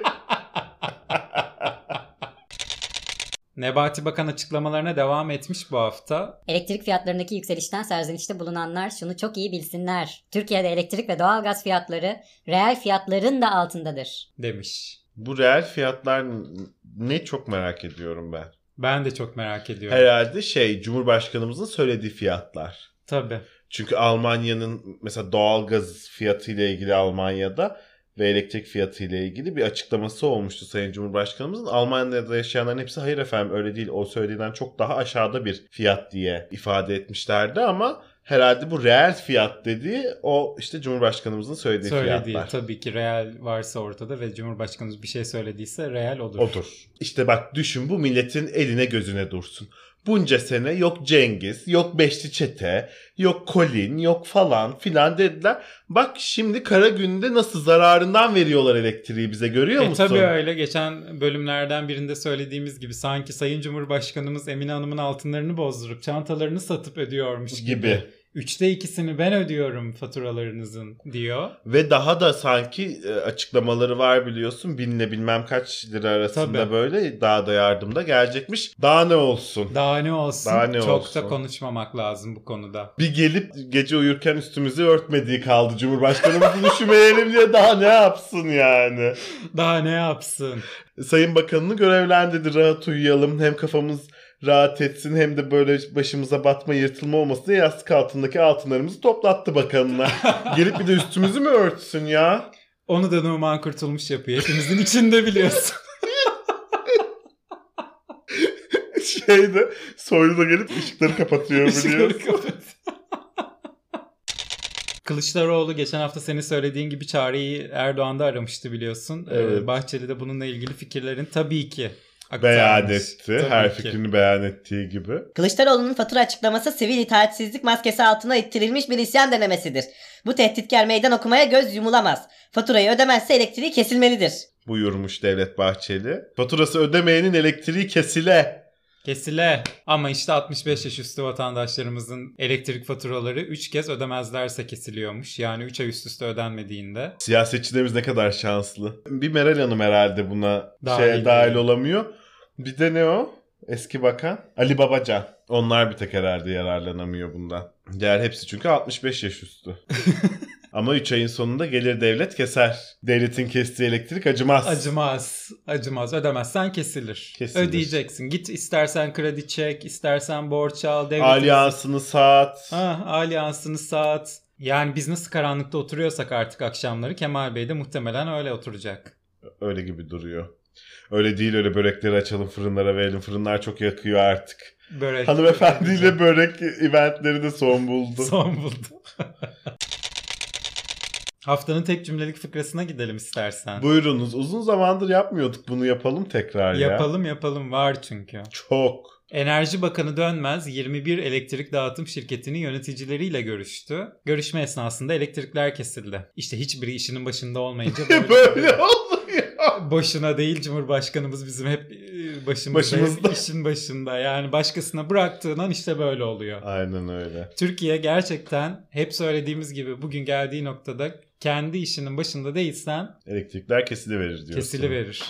Speaker 4: Nebati Bakan açıklamalarına devam etmiş bu hafta.
Speaker 1: Elektrik fiyatlarındaki yükselişten serzenişte bulunanlar şunu çok iyi bilsinler. Türkiye'de elektrik ve doğalgaz fiyatları reel fiyatların da altındadır.
Speaker 4: demiş.
Speaker 5: Bu reel fiyatlar ne çok merak ediyorum ben.
Speaker 4: Ben de çok merak ediyorum.
Speaker 5: Herhalde şey Cumhurbaşkanımızın söylediği fiyatlar.
Speaker 4: Tabii.
Speaker 5: Çünkü Almanya'nın mesela doğalgaz fiyatı ile ilgili Almanya'da ve elektrik fiyatı ile ilgili bir açıklaması olmuştu Sayın Cumhurbaşkanımızın. Almanya'da yaşayanların hepsi hayır efendim öyle değil o söylediğinden çok daha aşağıda bir fiyat diye ifade etmişlerdi ama herhalde bu reel fiyat dediği o işte Cumhurbaşkanımızın söylediği
Speaker 4: Söylediği
Speaker 5: fiyatlar.
Speaker 4: tabii ki real varsa ortada ve Cumhurbaşkanımız bir şey söylediyse real olur.
Speaker 5: Odur. İşte bak düşün bu milletin eline gözüne dursun. bunca sene yok Cengiz, yok Beşli Çete, yok Colin, yok falan filan dediler. Bak şimdi kara günde nasıl zararından veriyorlar elektriği bize görüyor
Speaker 4: E
Speaker 5: musun?
Speaker 4: tabii öyle. Geçen bölümlerden birinde söylediğimiz gibi sanki Sayın Cumhurbaşkanımız Emine Hanım'ın altınlarını bozdurup çantalarını satıp ödüyormuş gibi.
Speaker 5: gibi.
Speaker 4: Üçte ikisini ben ödüyorum faturalarınızın diyor.
Speaker 5: Ve daha da sanki e, açıklamaları var biliyorsun. Binle bilmem kaç lira arasında
Speaker 4: Tabii.
Speaker 5: böyle daha da yardım da gelecekmiş. Daha ne olsun?
Speaker 4: Daha ne olsun?
Speaker 5: Daha ne
Speaker 4: Çok
Speaker 5: olsun?
Speaker 4: da konuşmamak lazım bu konuda.
Speaker 5: Bir gelip gece uyurken üstümüzü örtmediği kaldı. Cumhurbaşkanımızı [LAUGHS] düşünmeyelim diye daha ne yapsın yani?
Speaker 4: Daha ne yapsın?
Speaker 5: Sayın Bakanını görevlendirdi. Rahat uyuyalım. Hem kafamız rahat etsin hem de böyle başımıza batma yırtılma olmasın diye yastık altındaki altınlarımızı toplattı
Speaker 4: [LAUGHS]
Speaker 5: bakanına. Gelip bir de üstümüzü mü örtsün ya?
Speaker 4: Onu da Numan Kurtulmuş yapıyor. Hepimizin içinde
Speaker 5: [LAUGHS]
Speaker 4: biliyorsun.
Speaker 5: Şeyde soylu da gelip ışıkları kapatıyor biliyor.
Speaker 4: Işıkları kapat. [LAUGHS] Kılıçdaroğlu geçen hafta senin söylediğin gibi çareyi Erdoğan'da aramıştı biliyorsun. Ee,
Speaker 5: Evet.
Speaker 4: Bahçeli de bununla ilgili fikirlerin tabii ki aktarmış.
Speaker 5: beyan etti.
Speaker 4: Tabii
Speaker 5: her
Speaker 4: ki.
Speaker 5: fikrini beyan ettiği gibi.
Speaker 6: Kılıçdaroğlu'nun fatura açıklaması sivil itaatsizlik maskesi altına ittirilmiş bir isyan denemesidir. Bu tehditkar meydan okumaya göz yumulamaz. Faturayı ödemezse elektriği kesilmelidir.
Speaker 5: Buyurmuş Devlet Bahçeli. Faturası ödemeyenin elektriği kesile.
Speaker 4: Kesile. Ama işte 65 yaş üstü vatandaşlarımızın elektrik faturaları 3 kez ödemezlerse kesiliyormuş. Yani 3 ay üst üste ödenmediğinde.
Speaker 5: Siyasetçilerimiz ne kadar şanslı. Bir Meral Hanım herhalde buna
Speaker 4: Dahil
Speaker 5: şeye
Speaker 4: değil.
Speaker 5: dahil olamıyor. Bir de ne o? Eski bakan Ali Babacan. Onlar bir tek herhalde yararlanamıyor bundan. Diğer hepsi çünkü 65 yaş
Speaker 4: [LAUGHS]
Speaker 5: üstü. Ama 3 ayın sonunda gelir devlet keser. Devletin kestiği elektrik acımaz.
Speaker 4: Acımaz. Acımaz. Ödemezsen kesilir.
Speaker 5: Kesilir.
Speaker 4: Ödeyeceksin. Git istersen kredi çek, istersen borç al. devletin-
Speaker 5: Alyansını saat.
Speaker 4: Ah, alyansını saat. Yani biz nasıl karanlıkta oturuyorsak artık akşamları Kemal Bey de muhtemelen öyle oturacak.
Speaker 5: Öyle gibi duruyor. Öyle değil öyle börekleri açalım fırınlara verelim. Fırınlar çok yakıyor artık.
Speaker 4: Börek. [LAUGHS]
Speaker 5: Hanımefendiyle börek eventleri de son buldu.
Speaker 4: Son buldu. [LAUGHS] Haftanın tek cümlelik fıkrasına gidelim istersen.
Speaker 5: Buyurunuz. Uzun zamandır yapmıyorduk bunu yapalım tekrar ya.
Speaker 4: Yapalım yapalım var çünkü.
Speaker 5: Çok.
Speaker 4: Enerji Bakanı Dönmez 21 elektrik dağıtım şirketinin yöneticileriyle görüştü. Görüşme esnasında elektrikler kesildi. İşte hiçbiri işinin
Speaker 5: [LAUGHS]
Speaker 4: başında olmayınca [LAUGHS] böyle,
Speaker 5: Böyle oluyor.
Speaker 4: boşuna değil Cumhurbaşkanımız bizim hep e, başımızda,
Speaker 5: Başımızda.
Speaker 4: hep işin başında. Yani başkasına bıraktığın an işte böyle oluyor.
Speaker 5: Aynen öyle.
Speaker 4: Türkiye gerçekten hep söylediğimiz gibi bugün geldiği noktada kendi işinin başında değilsen
Speaker 5: Elektrikler kesiliverir diyorsun.
Speaker 4: kesiliverir.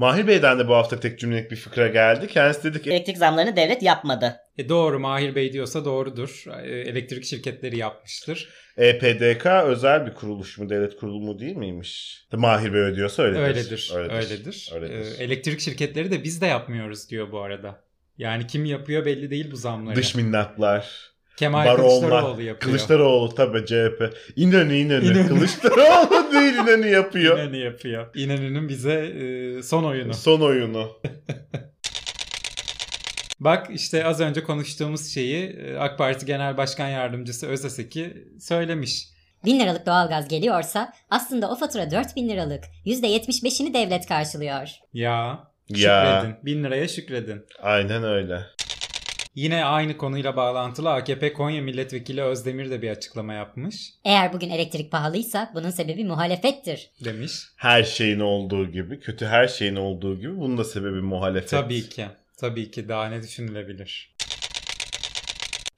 Speaker 5: Mahir Bey'den de bu hafta tek cümlelik bir fıkra geldi. Kendisi dedi ki
Speaker 6: Elektrik zamlarını devlet yapmadı.
Speaker 4: E doğru Mahir Bey diyorsa doğrudur. E, Elektrik şirketleri yapmıştır.
Speaker 5: E EPDK özel bir kuruluş mu? Devlet kurulumu değil miymiş? Mahir Bey ödüyorsa öyledir.
Speaker 4: Öyledir. Öyledir.
Speaker 5: Öyledir.
Speaker 4: Ee, elektrik şirketleri de biz de yapmıyoruz diyor bu arada. Yani kim yapıyor belli değil bu zamları.
Speaker 5: Dış minnatlar.
Speaker 4: Kemal Kılıçdaroğlu
Speaker 5: Baronlar.
Speaker 4: yapıyor.
Speaker 5: Kılıçdaroğlu tabi CHP. İnönü İnönü.
Speaker 4: İnönü. [LAUGHS]
Speaker 5: Kılıçdaroğlu değil İnönü yapıyor.
Speaker 4: İnönü yapıyor. İnönü'nün bize e, son oyunu.
Speaker 5: Son oyunu.
Speaker 4: Bak işte az önce konuştuğumuz şeyi e, AK Parti Genel Başkan Yardımcısı Özaseki söylemiş.
Speaker 1: 1000 liralık doğalgaz geliyorsa aslında o fatura 4000 liralık. %75'ini devlet karşılıyor.
Speaker 4: Ya,
Speaker 5: Ya.
Speaker 4: şükredin. Bin liraya şükredin.
Speaker 5: Aynen öyle.
Speaker 4: Yine aynı konuyla bağlantılı AKP Konya Milletvekili Özdemir de bir açıklama yapmış.
Speaker 1: Eğer bugün elektrik pahalıysa bunun sebebi muhalefettir.
Speaker 4: Demiş.
Speaker 5: Her şeyin olduğu gibi, kötü her şeyin olduğu gibi bunun da sebebi muhalefet.
Speaker 4: Tabii ki. Tabii ki daha ne düşünülebilir.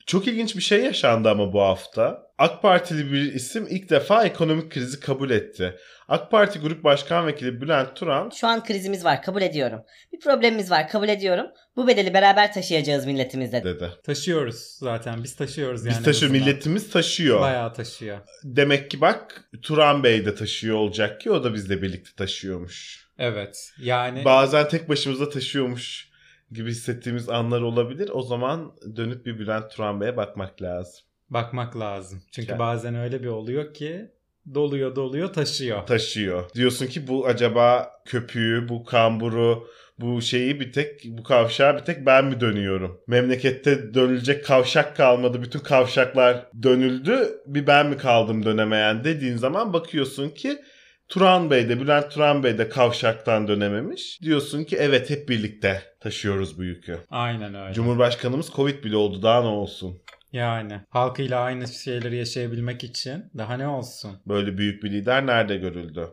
Speaker 5: Çok ilginç bir şey yaşandı ama bu hafta. AK Partili bir isim ilk defa ekonomik krizi kabul etti. AK Parti Grup Başkan Vekili Bülent Turan
Speaker 6: Şu an krizimiz var kabul ediyorum. Bir problemimiz var kabul ediyorum. Bu bedeli beraber taşıyacağız milletimiz dedi.
Speaker 5: dedi.
Speaker 4: Taşıyoruz zaten. Biz taşıyoruz yani.
Speaker 5: Biz taşıyor,
Speaker 4: azından.
Speaker 5: milletimiz taşıyor.
Speaker 4: Bayağı taşıyor.
Speaker 5: Demek ki bak Turan Bey de taşıyor olacak ki o da bizle birlikte taşıyormuş.
Speaker 4: Evet. Yani
Speaker 5: Bazen tek başımıza taşıyormuş gibi hissettiğimiz anlar olabilir. O zaman dönüp bir Bülent Turan Bey'e bakmak lazım.
Speaker 4: bakmak lazım. Çünkü
Speaker 5: Ya.
Speaker 4: bazen öyle bir oluyor ki doluyor doluyor taşıyor.
Speaker 5: Taşıyor. Diyorsun ki bu acaba köpüğü, bu kamburu, bu şeyi bir tek, bu kavşağı bir tek ben mi dönüyorum? Memlekette dönülecek kavşak kalmadı. Bütün kavşaklar dönüldü. Bir ben mi kaldım dönemeyen dediğin zaman bakıyorsun ki Turan Bey de Bülent Turan Bey de kavşaktan dönememiş. Diyorsun ki evet hep birlikte taşıyoruz bu yükü.
Speaker 4: Aynen öyle.
Speaker 5: Cumhurbaşkanımız Covid bile oldu daha ne olsun.
Speaker 4: yani halkıyla aynı şeyleri yaşayabilmek için daha ne olsun?
Speaker 5: Böyle büyük bir lider nerede görüldü?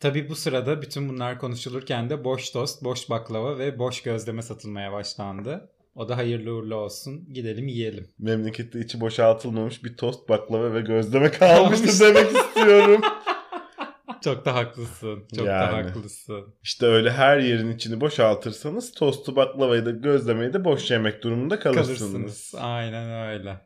Speaker 4: Tabii bu sırada bütün bunlar konuşulurken de boş tost, boş baklava ve boş gözleme satılmaya başlandı. O da hayırlı uğurlu olsun.
Speaker 5: [LAUGHS]
Speaker 4: Gidelim yiyelim.
Speaker 5: Memlekette içi boşaltılmamış bir tost baklava ve gözleme kalmıştı
Speaker 4: Kalmış. [LAUGHS]
Speaker 5: demek istiyorum.
Speaker 4: Çok da haklısın. Çok da
Speaker 5: Yani.
Speaker 4: haklısın.
Speaker 5: İşte öyle her yerin içini boşaltırsanız tostu baklavayı da gözlemeyi de boş yemek durumunda kalırsınız.
Speaker 4: Kalırsınız. Aynen öyle.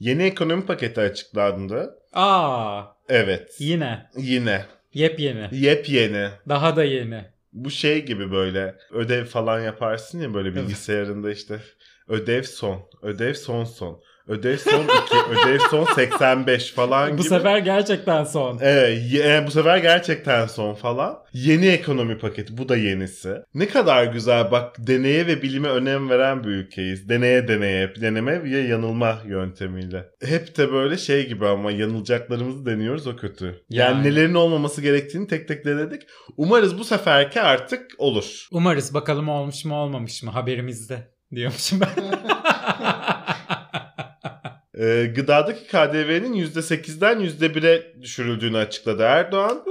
Speaker 5: Yeni ekonomi paketi açıklandı.
Speaker 4: Aa,
Speaker 5: Evet.
Speaker 4: yine.
Speaker 5: Yine.
Speaker 4: Yepyeni.
Speaker 5: Yepyeni.
Speaker 4: Daha da yeni.
Speaker 5: Bu şey gibi böyle ödev falan yaparsın ya böyle bilgisayarında işte ödev son, ödev son son, ödev son 2,
Speaker 4: [LAUGHS]
Speaker 5: ödev son 85 falan
Speaker 4: Bu
Speaker 5: gibi.
Speaker 4: sefer gerçekten son.
Speaker 5: Evet, ye- e, bu sefer gerçekten son falan. Yeni ekonomi paketi bu da yenisi. Ne kadar güzel bak deneye ve bilime önem veren bir ülkeyiz. Deneye deneye, deneme ve yanılma yöntemiyle. Hep de böyle şey gibi ama yanılacaklarımızı deniyoruz o kötü. Yani,
Speaker 4: Yani.
Speaker 5: nelerin olmaması gerektiğini tek tek denedik. Umarız bu seferki artık olur.
Speaker 4: Umarız bakalım olmuş mu olmamış mı haberimizde diyormuşum ben.
Speaker 5: Ee, gıdadaki KDV'nin %8'den %1'e düşürüldüğünü açıkladı Erdoğan.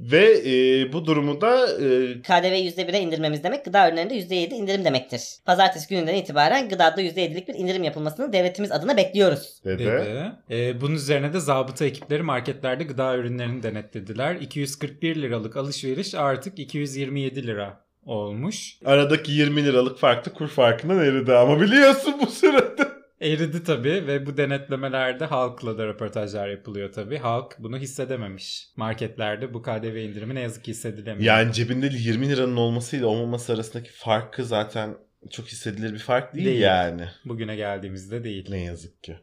Speaker 5: Ve e, bu durumu da e,
Speaker 6: KDV %1'e indirmemiz demek gıda ürünlerinde %7 indirim demektir. Pazartesi gününden itibaren gıdada %7'lik bir indirim yapılmasını devletimiz adına bekliyoruz.
Speaker 5: dedi.
Speaker 4: dedi. Ee, bunun üzerine de zabıta ekipleri marketlerde gıda ürünlerini denetlediler. 241 liralık alışveriş artık 227 lira olmuş.
Speaker 5: Aradaki 20 liralık farklı kur farkından eridi ama biliyorsun bu sırada.
Speaker 4: Eridi tabii ve bu denetlemelerde halkla da röportajlar yapılıyor tabii. Halk bunu hissedememiş. Marketlerde bu KDV indirimi ne yazık ki hissedilemiyor.
Speaker 5: Yani cebinde 20 liranın olmasıyla olmaması arasındaki farkı zaten çok hissedilir bir fark değil,
Speaker 4: Değil.
Speaker 5: yani.
Speaker 4: Bugüne geldiğimizde değil.
Speaker 5: Ne yazık ki.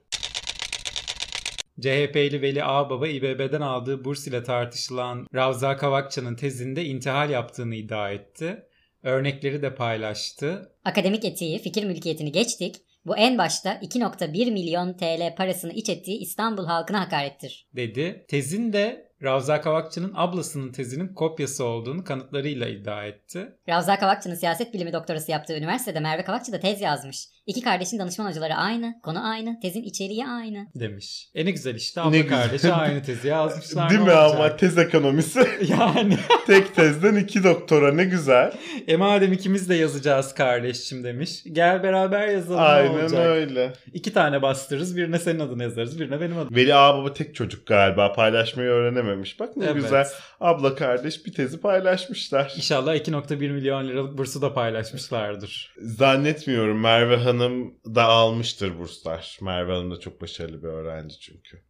Speaker 4: CHP'li Veli Ağbaba İBB'den aldığı burs ile tartışılan Ravza Kavakçı'nın tezinde intihal yaptığını iddia etti. Örnekleri de paylaştı.
Speaker 1: Akademik etiği, fikir mülkiyetini geçtik. Bu en başta 2.1 milyon TL parasını iç ettiği İstanbul halkına hakarettir.
Speaker 4: dedi. Tezin de Ravza Kavakçı'nın ablasının tezinin kopyası olduğunu kanıtlarıyla iddia etti.
Speaker 1: Ravza Kavakçı'nın siyaset bilimi doktorası yaptığı üniversitede Merve Kavakçı da tez yazmış. İki kardeşin danışman hocaları aynı, konu aynı, tezin içeriği aynı.
Speaker 4: Demiş. E ne güzel işte abla
Speaker 5: Ne güzel.
Speaker 4: kardeşi aynı
Speaker 5: [LAUGHS]
Speaker 4: tezi yazmışlar.
Speaker 5: değil
Speaker 4: ne
Speaker 5: mi ama
Speaker 4: olacak?
Speaker 5: tez ekonomisi
Speaker 4: [LAUGHS]
Speaker 5: [LAUGHS]
Speaker 4: Yani
Speaker 5: tek tezden iki doktora ne güzel.
Speaker 4: e madem ikimiz de yazacağız kardeşim demiş. Gel beraber yazalım ne
Speaker 5: Aynen
Speaker 4: olacak.
Speaker 5: öyle.
Speaker 4: İki tane bastırırız. Birine senin adını yazarız. Birine benim adım.
Speaker 5: Veli ağababa tek çocuk galiba paylaşmayı öğrenememiş. Bak ne
Speaker 4: Evet.
Speaker 5: güzel abla kardeş bir tezi paylaşmışlar.
Speaker 4: İnşallah 2.1 milyon liralık bursu da paylaşmışlardır.
Speaker 5: Zannetmiyorum Merve Hanım da almıştır burslar. Merve Hanım da çok başarılı bir öğrenci çünkü.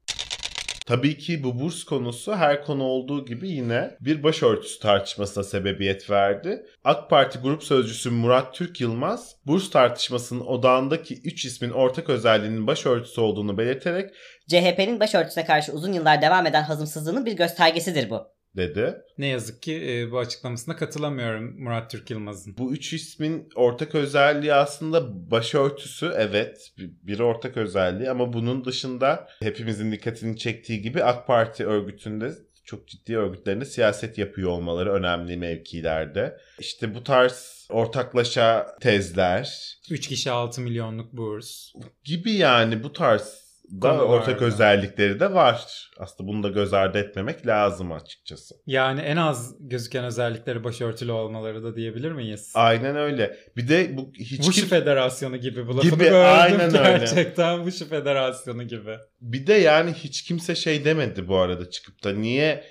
Speaker 5: Tabii ki bu burs konusu her konu olduğu gibi yine bir başörtüsü tartışmasına sebebiyet verdi. AK Parti Grup Sözcüsü Murat Türk Yılmaz, burs tartışmasının odağındaki 3 ismin ortak özelliğinin başörtüsü olduğunu belirterek
Speaker 6: CHP'nin başörtüsüne karşı uzun yıllar devam eden hazımsızlığının bir göstergesidir bu.
Speaker 5: dedi.
Speaker 4: Ne yazık ki e, bu açıklamasına katılamıyorum Murat Türk Yılmaz'ın.
Speaker 5: Bu üç ismin ortak özelliği aslında başörtüsü evet bir bir ortak özelliği ama bunun dışında hepimizin dikkatini çektiği gibi AK Parti örgütünde çok ciddi örgütlerinde siyaset yapıyor olmaları önemli mevkilerde. İşte bu tarz ortaklaşa tezler
Speaker 4: 3 kişi 6 milyonluk burs.
Speaker 5: gibi yani bu tarz da
Speaker 4: Konularda.
Speaker 5: ortak özellikleri de var. Aslında bunu da göz ardı etmemek lazım açıkçası.
Speaker 4: Yani en az gözüken özellikleri başörtülü olmaları da diyebilir miyiz?
Speaker 5: Aynen öyle. Bir de bu hiç
Speaker 4: Vuş
Speaker 5: kim-
Speaker 4: Federasyonu gibi bu lafını
Speaker 5: Gibi,
Speaker 4: gördüm
Speaker 5: aynen öyle.
Speaker 4: gerçekten Vuş Federasyonu gibi.
Speaker 5: Bir de yani hiç kimse şey demedi bu arada çıkıp da niye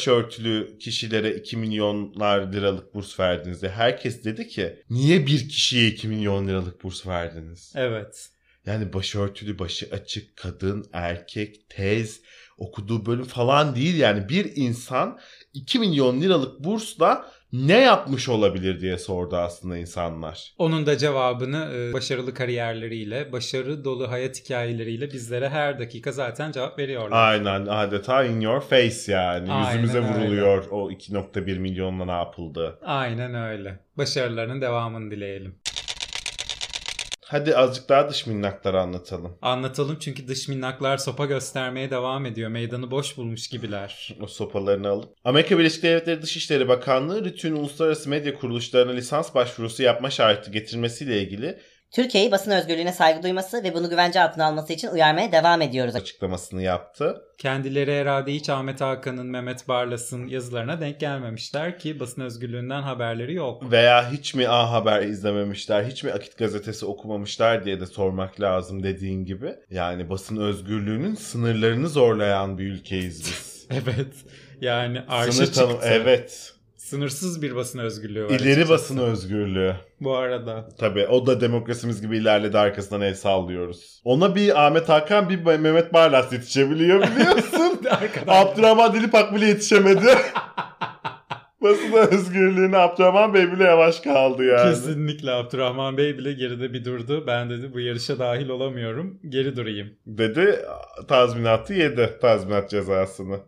Speaker 5: başörtülü kişilere 2 milyonlar liralık burs verdiniz diye. Herkes dedi ki niye bir kişiye 2 milyon liralık burs verdiniz?
Speaker 4: Evet.
Speaker 5: Yani başörtülü, başı açık, kadın, erkek, tez, okuduğu bölüm falan değil yani bir insan 2 milyon liralık bursla ne yapmış olabilir diye sordu aslında insanlar.
Speaker 4: Onun da cevabını e, başarılı kariyerleriyle, başarı dolu hayat hikayeleriyle bizlere her dakika zaten cevap veriyorlar.
Speaker 5: Aynen adeta in your face yani
Speaker 4: Aynen
Speaker 5: yüzümüze
Speaker 4: öyle.
Speaker 5: vuruluyor o 2.1 milyonla ne yapıldı.
Speaker 4: Aynen öyle. Başarılarının devamını dileyelim.
Speaker 5: Hadi azıcık daha dış minnakları anlatalım.
Speaker 4: Anlatalım çünkü dış minnaklar sopa göstermeye devam ediyor. Meydanı boş bulmuş gibiler.
Speaker 5: O sopalarını alıp. Amerika Birleşik Devletleri Dışişleri Bakanlığı RTÜK'ün uluslararası medya kuruluşlarına lisans başvurusu yapma şartı getirmesiyle ilgili
Speaker 6: Türkiye'yi basın özgürlüğüne saygı duyması ve bunu güvence altına alması için uyarmaya devam ediyoruz.
Speaker 5: açıklamasını yaptı.
Speaker 4: Kendileri herhalde hiç Ahmet Hakan'ın, Mehmet Barlas'ın yazılarına denk gelmemişler ki basın özgürlüğünden haberleri yok.
Speaker 5: Veya hiç mi A Haber izlememişler, hiç mi Akit Gazetesi okumamışlar diye de sormak lazım dediğin gibi. Yani basın özgürlüğünün sınırlarını zorlayan bir ülkeyiz
Speaker 4: [LAUGHS]
Speaker 5: biz.
Speaker 4: Evet. Yani arşa
Speaker 5: Sınır
Speaker 4: çıktı.
Speaker 5: tanım, evet.
Speaker 4: Sınırsız bir basın özgürlüğü var.
Speaker 5: İleri
Speaker 4: açıkçası.
Speaker 5: basın özgürlüğü. [LAUGHS]
Speaker 4: Bu arada.
Speaker 5: Tabii o da demokrasimiz gibi ilerledi arkasından el sallıyoruz. Ona bir Ahmet Hakan bir Mehmet Barlas yetişebiliyor biliyorsun.
Speaker 4: Arkadan.
Speaker 5: Abdurrahman Dilipak bile yetişemedi. [LAUGHS] Basın özgürlüğüne Abdurrahman Bey bile yavaş kaldı yani.
Speaker 4: Kesinlikle Abdurrahman Bey bile geride bir durdu. Ben dedi bu yarışa dahil olamıyorum. Geri durayım.
Speaker 5: Dedi tazminatı yedi tazminat cezasını.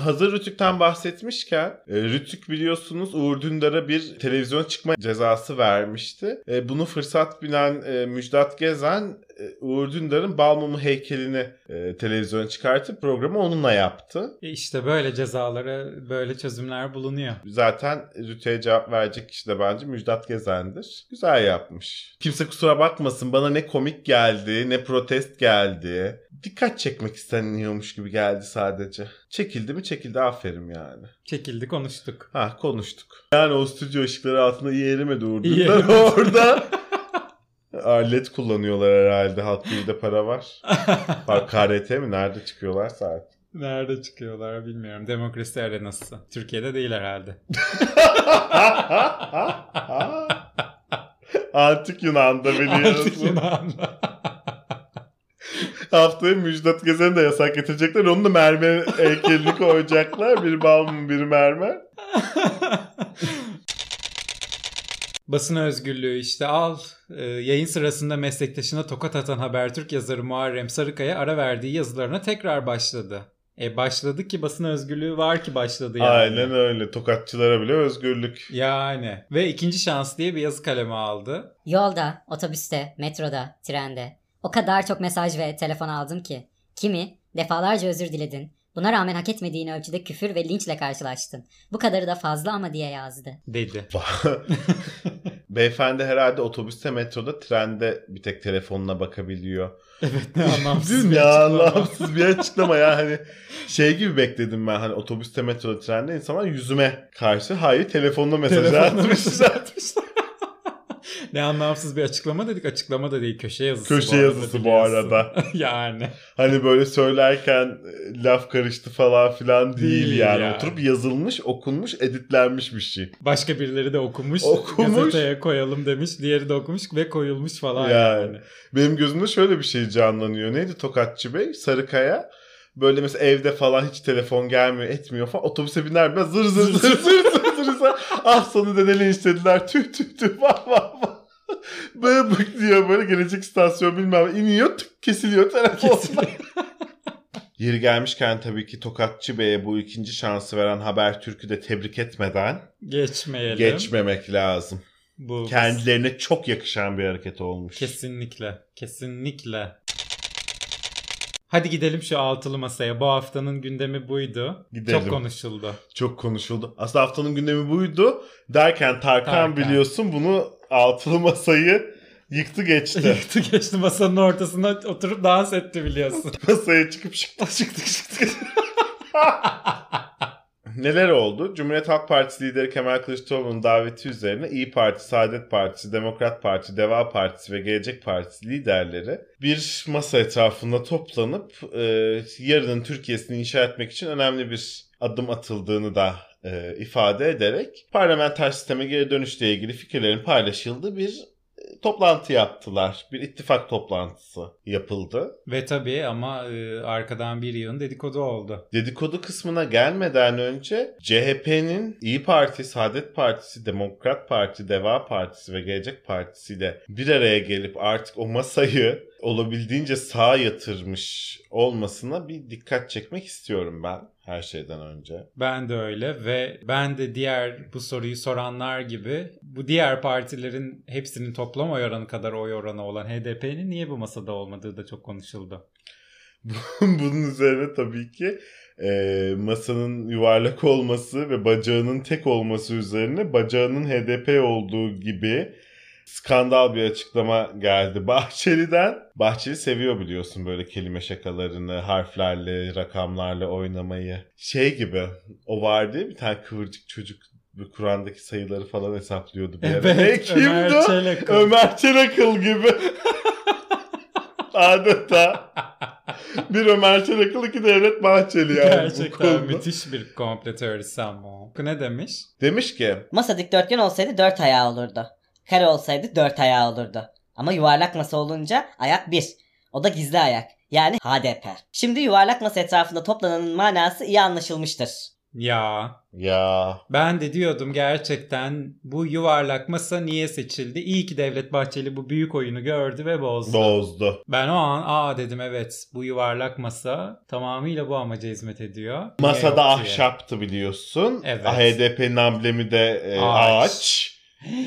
Speaker 5: Hazır Rütük'ten bahsetmişken e, Rütük biliyorsunuz Uğur Dündar'a bir televizyon çıkma cezası vermişti. E, Bunu fırsat bilen e, Müjdat Gezen e, Uğur Dündar'ın Balmumu heykelini e, televizyona çıkartıp programı onunla yaptı.
Speaker 4: E işte böyle cezalara böyle çözümler bulunuyor.
Speaker 5: Zaten Rütü'ye cevap verecek kişi de bence Müjdat Gezen'dir. Güzel yapmış. Kimse kusura bakmasın bana ne komik geldi ne protest geldi. Dikkat çekmek isteniyormuş gibi geldi sadece. Çekildi mi çekildi aferin yani.
Speaker 4: Çekildi konuştuk.
Speaker 5: Ha konuştuk. Yani o stüdyo ışıkları altında iyi erimedi Uğur [LAUGHS]
Speaker 4: İyi
Speaker 5: Dündar
Speaker 4: erimedi.
Speaker 5: orada. Alet kullanıyorlar herhalde. Halk TV'de para var. Bak KRT mi? Nerede çıkıyorlar saat?
Speaker 4: Nerede çıkıyorlar bilmiyorum. Demokrasi arenası. Türkiye'de değil herhalde.
Speaker 5: [LAUGHS] Antik Yunan'da
Speaker 4: Artık
Speaker 5: biliyorsun.
Speaker 4: Yunan'da.
Speaker 5: Haftaya Müjdat Gezen'i de yasak getirecekler. Onun da mermer
Speaker 4: [LAUGHS]
Speaker 5: heykelini koyacaklar. Biri balmum biri mermer.
Speaker 4: Basın özgürlüğü işte al. Ee, yayın sırasında meslektaşına tokat atan Habertürk yazarı Muharrem Sarıkaya ara verdiği yazılarına tekrar başladı. E başladı ki basın özgürlüğü var ki başladı yani.
Speaker 5: Aynen öyle. Tokatçılara bile özgürlük.
Speaker 4: Yani ve ikinci şans diye bir yazı kaleme aldı.
Speaker 1: Yolda, otobüste, metroda, trende o kadar çok mesaj ve telefon aldım ki. Kimi defalarca özür diledin. Buna rağmen hak etmediğin ölçüde küfür ve linçle karşılaştın. Bu kadarı da fazla ama diye yazdı.
Speaker 5: [LAUGHS]
Speaker 4: Dedi.
Speaker 5: Beyefendi herhalde otobüste, metroda, trende bir tek telefonuna bakabiliyor.
Speaker 4: Evet ne anlamsız bir
Speaker 5: ya
Speaker 4: açıklama.
Speaker 5: anlamsız bir açıklama ya hani şey gibi bekledim ben hani otobüste, metroda, trende insanlar yüzüme karşı hayır telefonla mesaj
Speaker 4: Telefonla [LAUGHS]
Speaker 5: atmışlar.
Speaker 4: mesaj atmışlar. ne anlamsız bir açıklama dedik. Açıklama da değil köşe yazısı.
Speaker 5: Köşe
Speaker 4: arada
Speaker 5: yazısı bu arada.
Speaker 4: biliyorsun. [LAUGHS] yani.
Speaker 5: Hani böyle söylerken e, laf karıştı falan filan değil,
Speaker 4: Değil
Speaker 5: yani.
Speaker 4: yani.
Speaker 5: Oturup yazılmış, okunmuş, editlenmiş bir şey.
Speaker 4: Başka birileri de okumuş.
Speaker 5: Okumuş.
Speaker 4: Gazeteye koyalım demiş. Diğeri de okumuş ve koyulmuş falan yani.
Speaker 5: Yani. [LAUGHS] Benim gözümde şöyle bir şey canlanıyor. Neydi Tokatçı Bey? Sarıkaya. Böyle mesela evde falan hiç telefon gelmiyor, etmiyor falan. Otobüse biner binmez zır zır zır zır zır zır. zır. ah sonunda ne istediler. Tüh tüh tüh vah vah vah. Böyle bık diyor böyle gelecek istasyon bilmem iniyor tık kesiliyor telefon.
Speaker 4: Kesin.
Speaker 5: Yeri gelmişken tabii ki Tokatçı Bey'e bu ikinci şansı veren Habertürk'ü de tebrik etmeden
Speaker 4: Geçmeyelim.
Speaker 5: geçmemek lazım.
Speaker 4: Bu
Speaker 5: Kendilerine çok yakışan bir hareket olmuş.
Speaker 4: Kesinlikle. Kesinlikle. Hadi gidelim şu altılı masaya. Bu haftanın gündemi buydu.
Speaker 5: Gidelim.
Speaker 4: Çok konuşuldu.
Speaker 5: Çok konuşuldu. Aslında haftanın gündemi buydu. Derken Tarkan,
Speaker 4: Tarkan.
Speaker 5: biliyorsun bunu altılı masayı yıktı
Speaker 4: [LAUGHS]
Speaker 5: geçti.
Speaker 4: Yıktı geçti masanın ortasına oturup dans
Speaker 5: [LAUGHS]
Speaker 4: etti biliyorsun.
Speaker 5: masaya çıkıp şıktı şıktı şıktı. Neler oldu? Cumhuriyet Halk Partisi lideri Kemal Kılıçdaroğlu'nun daveti üzerine İyi Parti, Saadet Partisi, Demokrat Parti, Deva Partisi ve Gelecek Partisi liderleri bir masa etrafında toplanıp e, yarının Türkiye'sini inşa etmek için önemli bir adım atıldığını da e, ifade ederek parlamenter sisteme geri dönüşle ilgili fikirlerin paylaşıldığı bir e, toplantı yaptılar. Bir ittifak toplantısı yapıldı.
Speaker 4: Ve tabii ama e, arkadan bir yığın dedikodu oldu.
Speaker 5: Dedikodu kısmına gelmeden önce CHP'nin İyi Parti, Saadet Partisi, Demokrat Parti, Deva Partisi ve Gelecek Partisi ile bir araya gelip artık o masayı olabildiğince sağa yatırmış olmasına bir dikkat çekmek istiyorum ben her şeyden önce.
Speaker 4: Ben de öyle ve ben de diğer bu soruyu soranlar gibi bu diğer partilerin hepsinin toplam oy oranı kadar oy oranı olan HDP'nin niye bu masada olmadığı da çok konuşuldu.
Speaker 5: [LAUGHS] Bunun üzerine tabii ki e, masanın yuvarlak olması ve bacağının tek olması üzerine bacağının HDP olduğu gibi skandal bir açıklama geldi [LAUGHS] Bahçeli'den. Bahçeli seviyor biliyorsun böyle kelime şakalarını, harflerle, rakamlarla oynamayı. Şey gibi o vardı ya bir tane kıvırcık çocuk bu Kur'an'daki sayıları falan hesaplıyordu bir ara. Ne, kimdi
Speaker 4: Ömer
Speaker 5: o?
Speaker 4: Çelak.
Speaker 5: Ömer Çelakıl gibi. Adeta. Bir Ömer Çelakıl, iki Devlet Bahçeli yani. bu
Speaker 4: Gerçekten
Speaker 5: konuda.
Speaker 4: müthiş bir komplo teorisi ama. o. Ne demiş?
Speaker 5: Demiş ki
Speaker 6: Masa dikdörtgen olsaydı dört ayağı olurdu. Kare olsaydı dört ayağı olurdu. Ama yuvarlak masa olunca ayak bir. O da gizli ayak. Yani HDP. Şimdi yuvarlak masa etrafında toplananın manası iyi anlaşılmıştır.
Speaker 4: Ya
Speaker 5: ya
Speaker 4: ben de diyordum gerçekten bu yuvarlak masa niye seçildi? İyi ki Devlet Bahçeli bu büyük oyunu gördü ve bozdu.
Speaker 5: bozdu.
Speaker 4: Ben o an aa dedim evet bu yuvarlak masa tamamıyla bu amaca hizmet ediyor. Niye yok
Speaker 5: Masada
Speaker 4: diye.
Speaker 5: ahşaptı biliyorsun. Ah,
Speaker 4: Evet.
Speaker 5: HDP'nin amblemi de e,
Speaker 4: Ağaç.
Speaker 5: ağaç. [GASPS]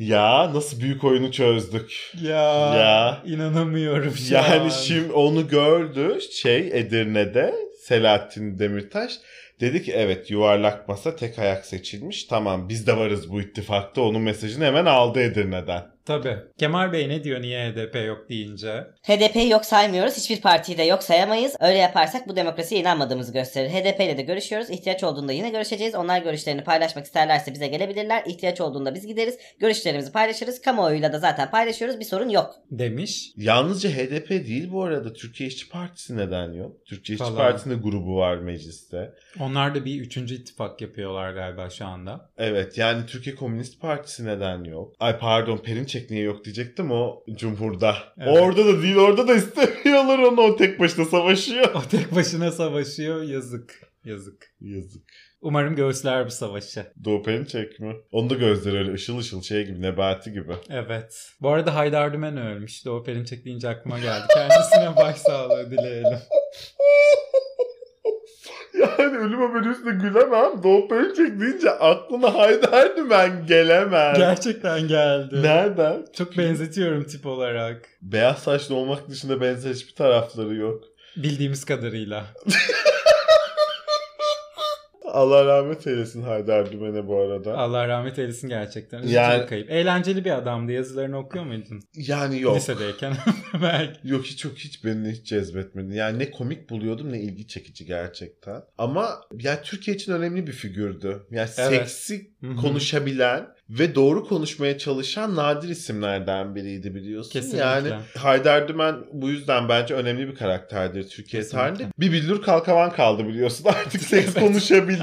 Speaker 5: Ya nasıl büyük oyunu çözdük.
Speaker 4: Ya,
Speaker 5: Ya.
Speaker 4: inanamıyorum şu an.
Speaker 5: Yani şimdi onu gördü şey Edirne'de Selahattin Demirtaş dedi ki evet yuvarlak masa tek ayak seçilmiş tamam biz de varız bu ittifakta onun mesajını hemen aldı Edirne'den.
Speaker 4: Tabii. Kemal Bey ne diyor niye HDP yok deyince?
Speaker 6: HDP'yi yok saymıyoruz. Hiçbir partiyi de yok sayamayız. Öyle yaparsak bu demokrasiye inanmadığımızı gösterir. HDP ile de görüşüyoruz. İhtiyaç olduğunda yine görüşeceğiz. Onlar görüşlerini paylaşmak isterlerse bize gelebilirler. İhtiyaç olduğunda biz gideriz. Görüşlerimizi paylaşırız. Kamuoyuyla da zaten paylaşıyoruz. Bir sorun yok. [LAUGHS]
Speaker 4: Demiş.
Speaker 5: Yalnızca HDP değil bu arada Türkiye İşçi Partisi neden yok? Türkiye İşçi
Speaker 4: Falan.
Speaker 5: Partisi'nin de grubu var mecliste.
Speaker 4: Onlar da bir üçüncü ittifak yapıyorlar galiba şu anda. [LAUGHS]
Speaker 5: Evet yani Türkiye Komünist Partisi neden yok? Ay pardon Perinçek niye yok diyecektim o Cumhur'da.
Speaker 4: Evet.
Speaker 5: Orada da değil orada da istemiyorlar onu o tek başına savaşıyor.
Speaker 4: O tek başına savaşıyor yazık. Yazık.
Speaker 5: Yazık.
Speaker 4: Umarım göğüsler bu savaşı.
Speaker 5: Doğu Perinçek mi? Onun da gözleri öyle ışıl ışıl şey gibi Nebati gibi.
Speaker 4: Evet. Bu arada Haydar Dümen ölmüş. Doğu Perinçek deyince
Speaker 5: [LAUGHS]
Speaker 4: aklıma geldi. Kendisine başsağlığı dileyelim.
Speaker 5: [LAUGHS] Yani ölüme böyle üstüne gülemem. Doğu Perinçek deyince aklıma Haydar Dümen gelemez.
Speaker 4: Gerçekten geldi.
Speaker 5: Nereden?
Speaker 4: Çok benzetiyorum tip olarak.
Speaker 5: Beyaz saçlı olmak dışında benzer hiçbir tarafları yok.
Speaker 4: Bildiğimiz kadarıyla.
Speaker 5: Allah rahmet eylesin Haydar Dümen'e bu arada.
Speaker 4: Allah rahmet eylesin gerçekten. Üzücü
Speaker 5: Yani-
Speaker 4: bir kayıp. Eğlenceli bir adamdı. Yazılarını okuyor muydun?
Speaker 5: Yani yok.
Speaker 4: Lisedeyken [LAUGHS] belki.
Speaker 5: Yok hiç yok hiç beni hiç cezbetmedi. Yani ne komik buluyordum ne ilgi çekici gerçekten. Ama yani Türkiye için önemli bir figürdü. Yani
Speaker 4: Evet.
Speaker 5: seksi
Speaker 4: Hı hı.
Speaker 5: konuşabilen ve doğru konuşmaya çalışan nadir isimlerden biriydi biliyorsun.
Speaker 4: Kesinlikle.
Speaker 5: Yani Haydar Dümen bu yüzden bence önemli bir karakterdir Türkiye
Speaker 4: Kesinlikle.
Speaker 5: tarihinde. Bir billur kalkavan kaldı biliyorsun [LAUGHS]
Speaker 4: [LAUGHS]
Speaker 5: artık seks konuşabilen.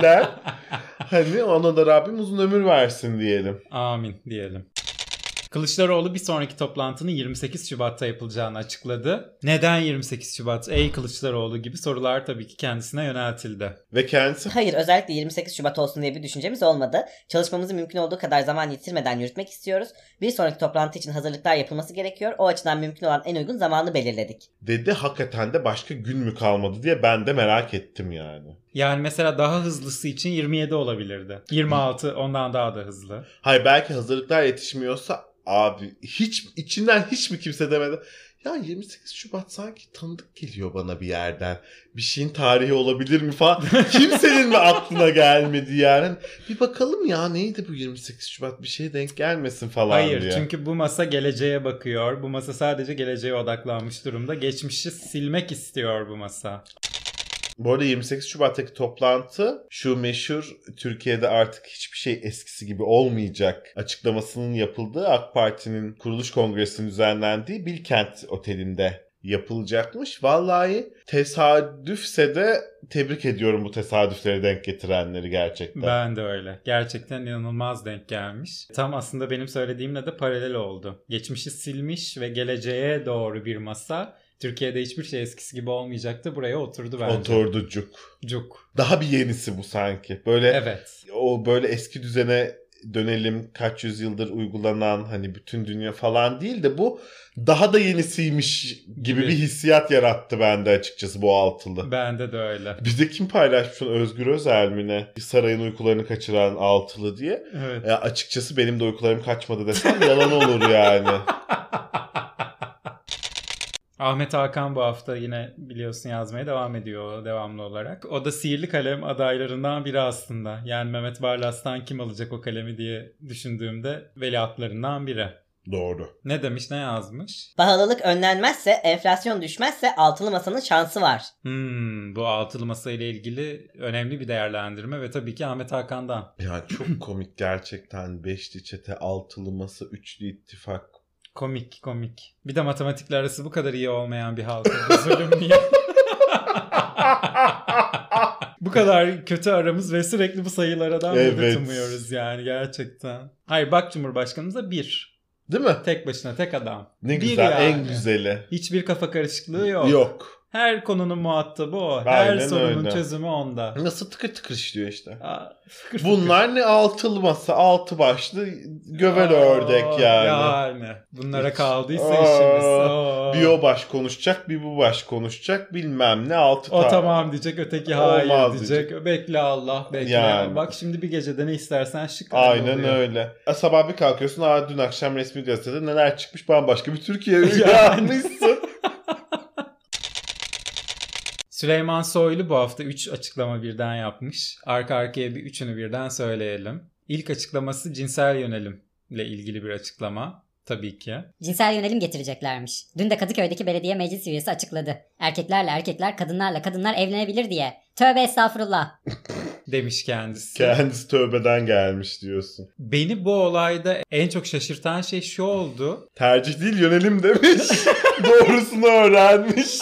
Speaker 5: hani ona da Rabbim uzun ömür versin diyelim.
Speaker 4: Amin diyelim. Kılıçdaroğlu bir sonraki toplantının 28 Şubat'ta yapılacağını açıkladı. Neden 28 Şubat? Ey Kılıçdaroğlu gibi sorular tabii ki kendisine yöneltildi.
Speaker 5: Ve kendisi
Speaker 6: Hayır özellikle 28 Şubat olsun diye bir düşüncemiz olmadı. Çalışmamızı mümkün olduğu kadar zaman yitirmeden yürütmek istiyoruz. Bir sonraki toplantı için hazırlıklar yapılması gerekiyor. O açıdan mümkün olan en uygun zamanı belirledik.
Speaker 5: dedi hakikaten de başka gün mü kalmadı diye ben de merak ettim yani.
Speaker 4: Yani mesela daha hızlısı için 27 olabilirdi. 26 ondan daha da hızlı.
Speaker 5: Hayır belki hazırlıklar yetişmiyorsa abi hiç içinden hiç mi kimse demedi. Ya 28 Şubat sanki tanıdık geliyor bana bir yerden. Bir şeyin tarihi olabilir mi
Speaker 4: [LAUGHS]
Speaker 5: falan. Kimsenin mi aklına gelmedi yani. Bir bakalım ya neydi bu 28 Şubat bir şeye denk gelmesin falan
Speaker 4: Hayır
Speaker 5: diye.
Speaker 4: çünkü bu masa geleceğe bakıyor. Bu masa sadece geleceğe odaklanmış durumda. Geçmişi silmek istiyor bu masa.
Speaker 5: Bu arada 28 Şubat'taki toplantı şu meşhur Türkiye'de artık hiçbir şey eskisi gibi olmayacak açıklamasının yapıldığı AK Parti'nin kuruluş kongresinin düzenlendiği Bilkent Oteli'nde yapılacakmış. Vallahi tesadüfse de tebrik ediyorum bu tesadüflere denk getirenleri gerçekten.
Speaker 4: Ben de öyle. Gerçekten inanılmaz denk gelmiş. Tam aslında benim söylediğimle de paralel oldu. Geçmişi silmiş ve geleceğe doğru bir masa. Türkiye'de hiçbir şey eskisi gibi olmayacaktı. Buraya oturdu bence.
Speaker 5: Oturducuk.
Speaker 4: Cuk.
Speaker 5: Daha bir yenisi bu sanki. Böyle
Speaker 4: Evet.
Speaker 5: o böyle eski düzene dönelim kaç yüzyıldır uygulanan hani bütün dünya falan değil de bu daha da yenisiymiş gibi
Speaker 4: Gibi.
Speaker 5: bir hissiyat yarattı bende açıkçası bu altılı.
Speaker 4: Bende de öyle.
Speaker 5: Bir de kim paylaşmış onu? Özgür Özel mi ne? Sarayın uykularını kaçıran altılı diye.
Speaker 4: Evet.
Speaker 5: E, açıkçası benim de uykularım kaçmadı desem yalan olur
Speaker 4: [LAUGHS]
Speaker 5: yani.
Speaker 4: Ahmet Hakan bu hafta yine biliyorsun yazmaya devam ediyor devamlı olarak. O da sihirli kalem adaylarından biri aslında. Yani Mehmet Barlas'tan kim alacak o kalemi diye düşündüğümde veliahtlarından biri.
Speaker 5: Doğru.
Speaker 4: Ne demiş ne yazmış?
Speaker 6: Pahalılık önlenmezse, enflasyon düşmezse altılı masanın şansı var.
Speaker 4: Hmm, bu altılı masa ile ilgili önemli bir değerlendirme ve tabii ki Ahmet Hakan'dan.
Speaker 5: Yani çok komik gerçekten. Beşli çete, altılı masa, üçlü ittifak.
Speaker 4: Komik komik. Bir de matematikle arası bu kadar iyi olmayan
Speaker 5: [LAUGHS]
Speaker 4: bir halka bu zulüm niye? bu kadar kötü aramız ve sürekli bu sayılardan
Speaker 5: Evet.
Speaker 4: medet umuyoruz yani gerçekten. Hayır bak Cumhurbaşkanımıza bir.
Speaker 5: Değil mi?
Speaker 4: Tek başına tek adam.
Speaker 5: Ne
Speaker 4: Bir
Speaker 5: güzel. En
Speaker 4: yani.
Speaker 5: güzeli.
Speaker 4: Hiçbir kafa karışıklığı yok.
Speaker 5: Yok.
Speaker 4: Her konunun muhatabı o. Her
Speaker 5: Aynen
Speaker 4: sorunun
Speaker 5: öyle.
Speaker 4: çözümü onda.
Speaker 5: Nasıl tıkır tıkır işliyor işte.
Speaker 4: Aa, [LAUGHS] fıkır fıkır.
Speaker 5: Bunlar ne altılı masa, altı başlı gövel ördek
Speaker 4: Aa,
Speaker 5: yani.
Speaker 4: Yani. Bunlara
Speaker 5: Hiç.
Speaker 4: kaldıysa
Speaker 5: Aa,
Speaker 4: işimiz. Aa.
Speaker 5: Bir o baş konuşacak, bir bu baş konuşacak, bilmem ne altı
Speaker 4: O
Speaker 5: tane.
Speaker 4: tamam diyecek, öteki hayır
Speaker 5: Olmaz
Speaker 4: diyecek. Bekle Allah, bekle.
Speaker 5: Yani.
Speaker 4: Bak şimdi bir gecede ne istersen şık.
Speaker 5: Aynen
Speaker 4: oluyor.
Speaker 5: öyle. E, sabah bir kalkıyorsun, aa dün akşam resmi gazetede neler çıkmış bambaşka bir Türkiye
Speaker 4: [LAUGHS] Yani. [LAUGHS]
Speaker 5: uyanmışsın.
Speaker 4: Süleyman Soylu bu hafta 3 açıklama birden yapmış. Arka arkaya bir üçünü birden söyleyelim. İlk açıklaması cinsel yönelimle ilgili bir açıklama. Tabii ki.
Speaker 1: Cinsel yönelim getireceklermiş. Dün de Kadıköy'deki belediye meclis üyesi açıkladı. Erkeklerle erkekler, kadınlarla kadınlar evlenebilir diye. Tövbe estağfurullah.
Speaker 4: Demiş kendisi.
Speaker 5: Kendisi tövbeden gelmiş diyorsun.
Speaker 4: Beni bu olayda en çok şaşırtan şey şu oldu. [LAUGHS]
Speaker 5: Tercih değil yönelim demiş. [LAUGHS] Doğrusunu
Speaker 4: [LAUGHS]
Speaker 5: öğrenmiş.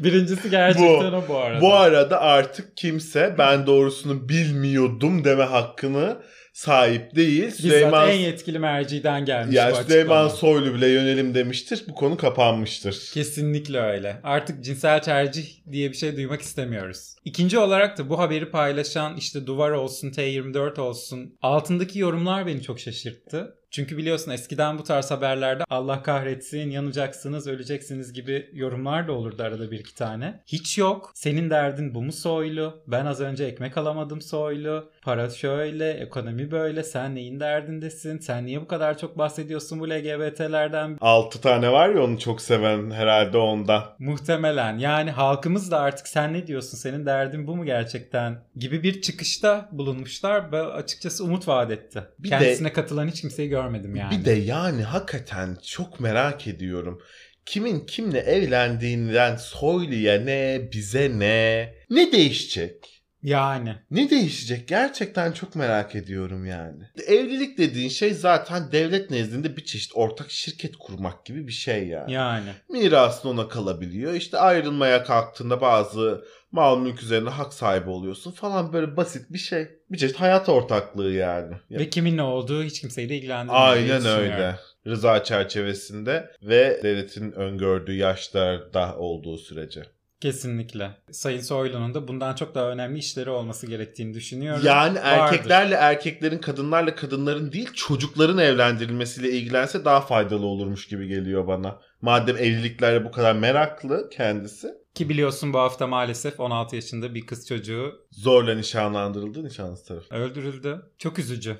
Speaker 4: Birincisi gerçekten
Speaker 5: Bu.
Speaker 4: o bu arada.
Speaker 5: bu arada artık kimse ben doğrusunu bilmiyordum deme hakkını sahip değil.
Speaker 4: Bizzat
Speaker 5: Süleyman
Speaker 4: en yetkili merciden gelmiş
Speaker 5: Ya
Speaker 4: bu
Speaker 5: Süleyman
Speaker 4: açıklama.
Speaker 5: Soylu bile yönelim demiştir. Bu konu kapanmıştır.
Speaker 4: Kesinlikle öyle. Artık cinsel tercih diye bir şey duymak istemiyoruz. İkinci olarak da bu haberi paylaşan işte Duvar olsun, T24 olsun altındaki yorumlar beni çok şaşırttı. Çünkü biliyorsun eskiden bu tarz haberlerde Allah kahretsin, yanacaksınız, öleceksiniz gibi yorumlar da olurdu arada bir iki tane. Hiç yok. Senin derdin bu mu Soylu? Ben az önce ekmek alamadım Soylu. Para şöyle, ekonomi böyle. Sen neyin derdindesin? Sen niye bu kadar çok bahsediyorsun bu LGBT'lerden?
Speaker 5: 6 tane var ya onu çok seven herhalde ondan.
Speaker 4: Muhtemelen yani halkımız da artık sen ne diyorsun senin derdin bu mu gerçekten gibi bir çıkışta bulunmuşlar ve açıkçası umut vaat etti.
Speaker 5: Bir
Speaker 4: Kendisine katılan hiç kimseyi görmedim yani.
Speaker 5: Bir de yani hakikaten çok merak ediyorum. Kimin kimle evlendiğinden Soylu'ya ne, bize ne? Ne değişecek?
Speaker 4: Yani
Speaker 5: Ne değişecek? Gerçekten çok merak ediyorum yani. Evlilik dediğin şey zaten devlet nezdinde bir çeşit ortak şirket kurmak gibi bir şey yani.
Speaker 4: yani
Speaker 5: mirasın ona kalabiliyor. İşte ayrılmaya kalktığında bazı mal mülk üzerine hak sahibi oluyorsun falan böyle basit bir şey. Bir çeşit hayat ortaklığı yani. Ya-
Speaker 4: ve kimin ne olduğu hiç kimseyi de ilgilendirmiyor. diye
Speaker 5: Aynen
Speaker 4: düşünüyorum.
Speaker 5: öyle. Rıza çerçevesinde ve devletin öngördüğü yaşlarda olduğu sürece.
Speaker 4: Kesinlikle. Sayın Soylu'nun da bundan çok daha önemli işleri olması gerektiğini düşünüyorum.
Speaker 5: Yani
Speaker 4: Vardır.
Speaker 5: erkeklerle erkeklerin, kadınlarla kadınların değil çocukların evlendirilmesiyle ilgilense daha faydalı olurmuş gibi geliyor bana. Madem evliliklerle bu kadar meraklı kendisi.
Speaker 4: Ki biliyorsun bu hafta maalesef 16 yaşında bir kız çocuğu
Speaker 5: Zorla nişanlandırıldı nişanlısı tarafı.
Speaker 4: öldürüldü. Çok üzücü.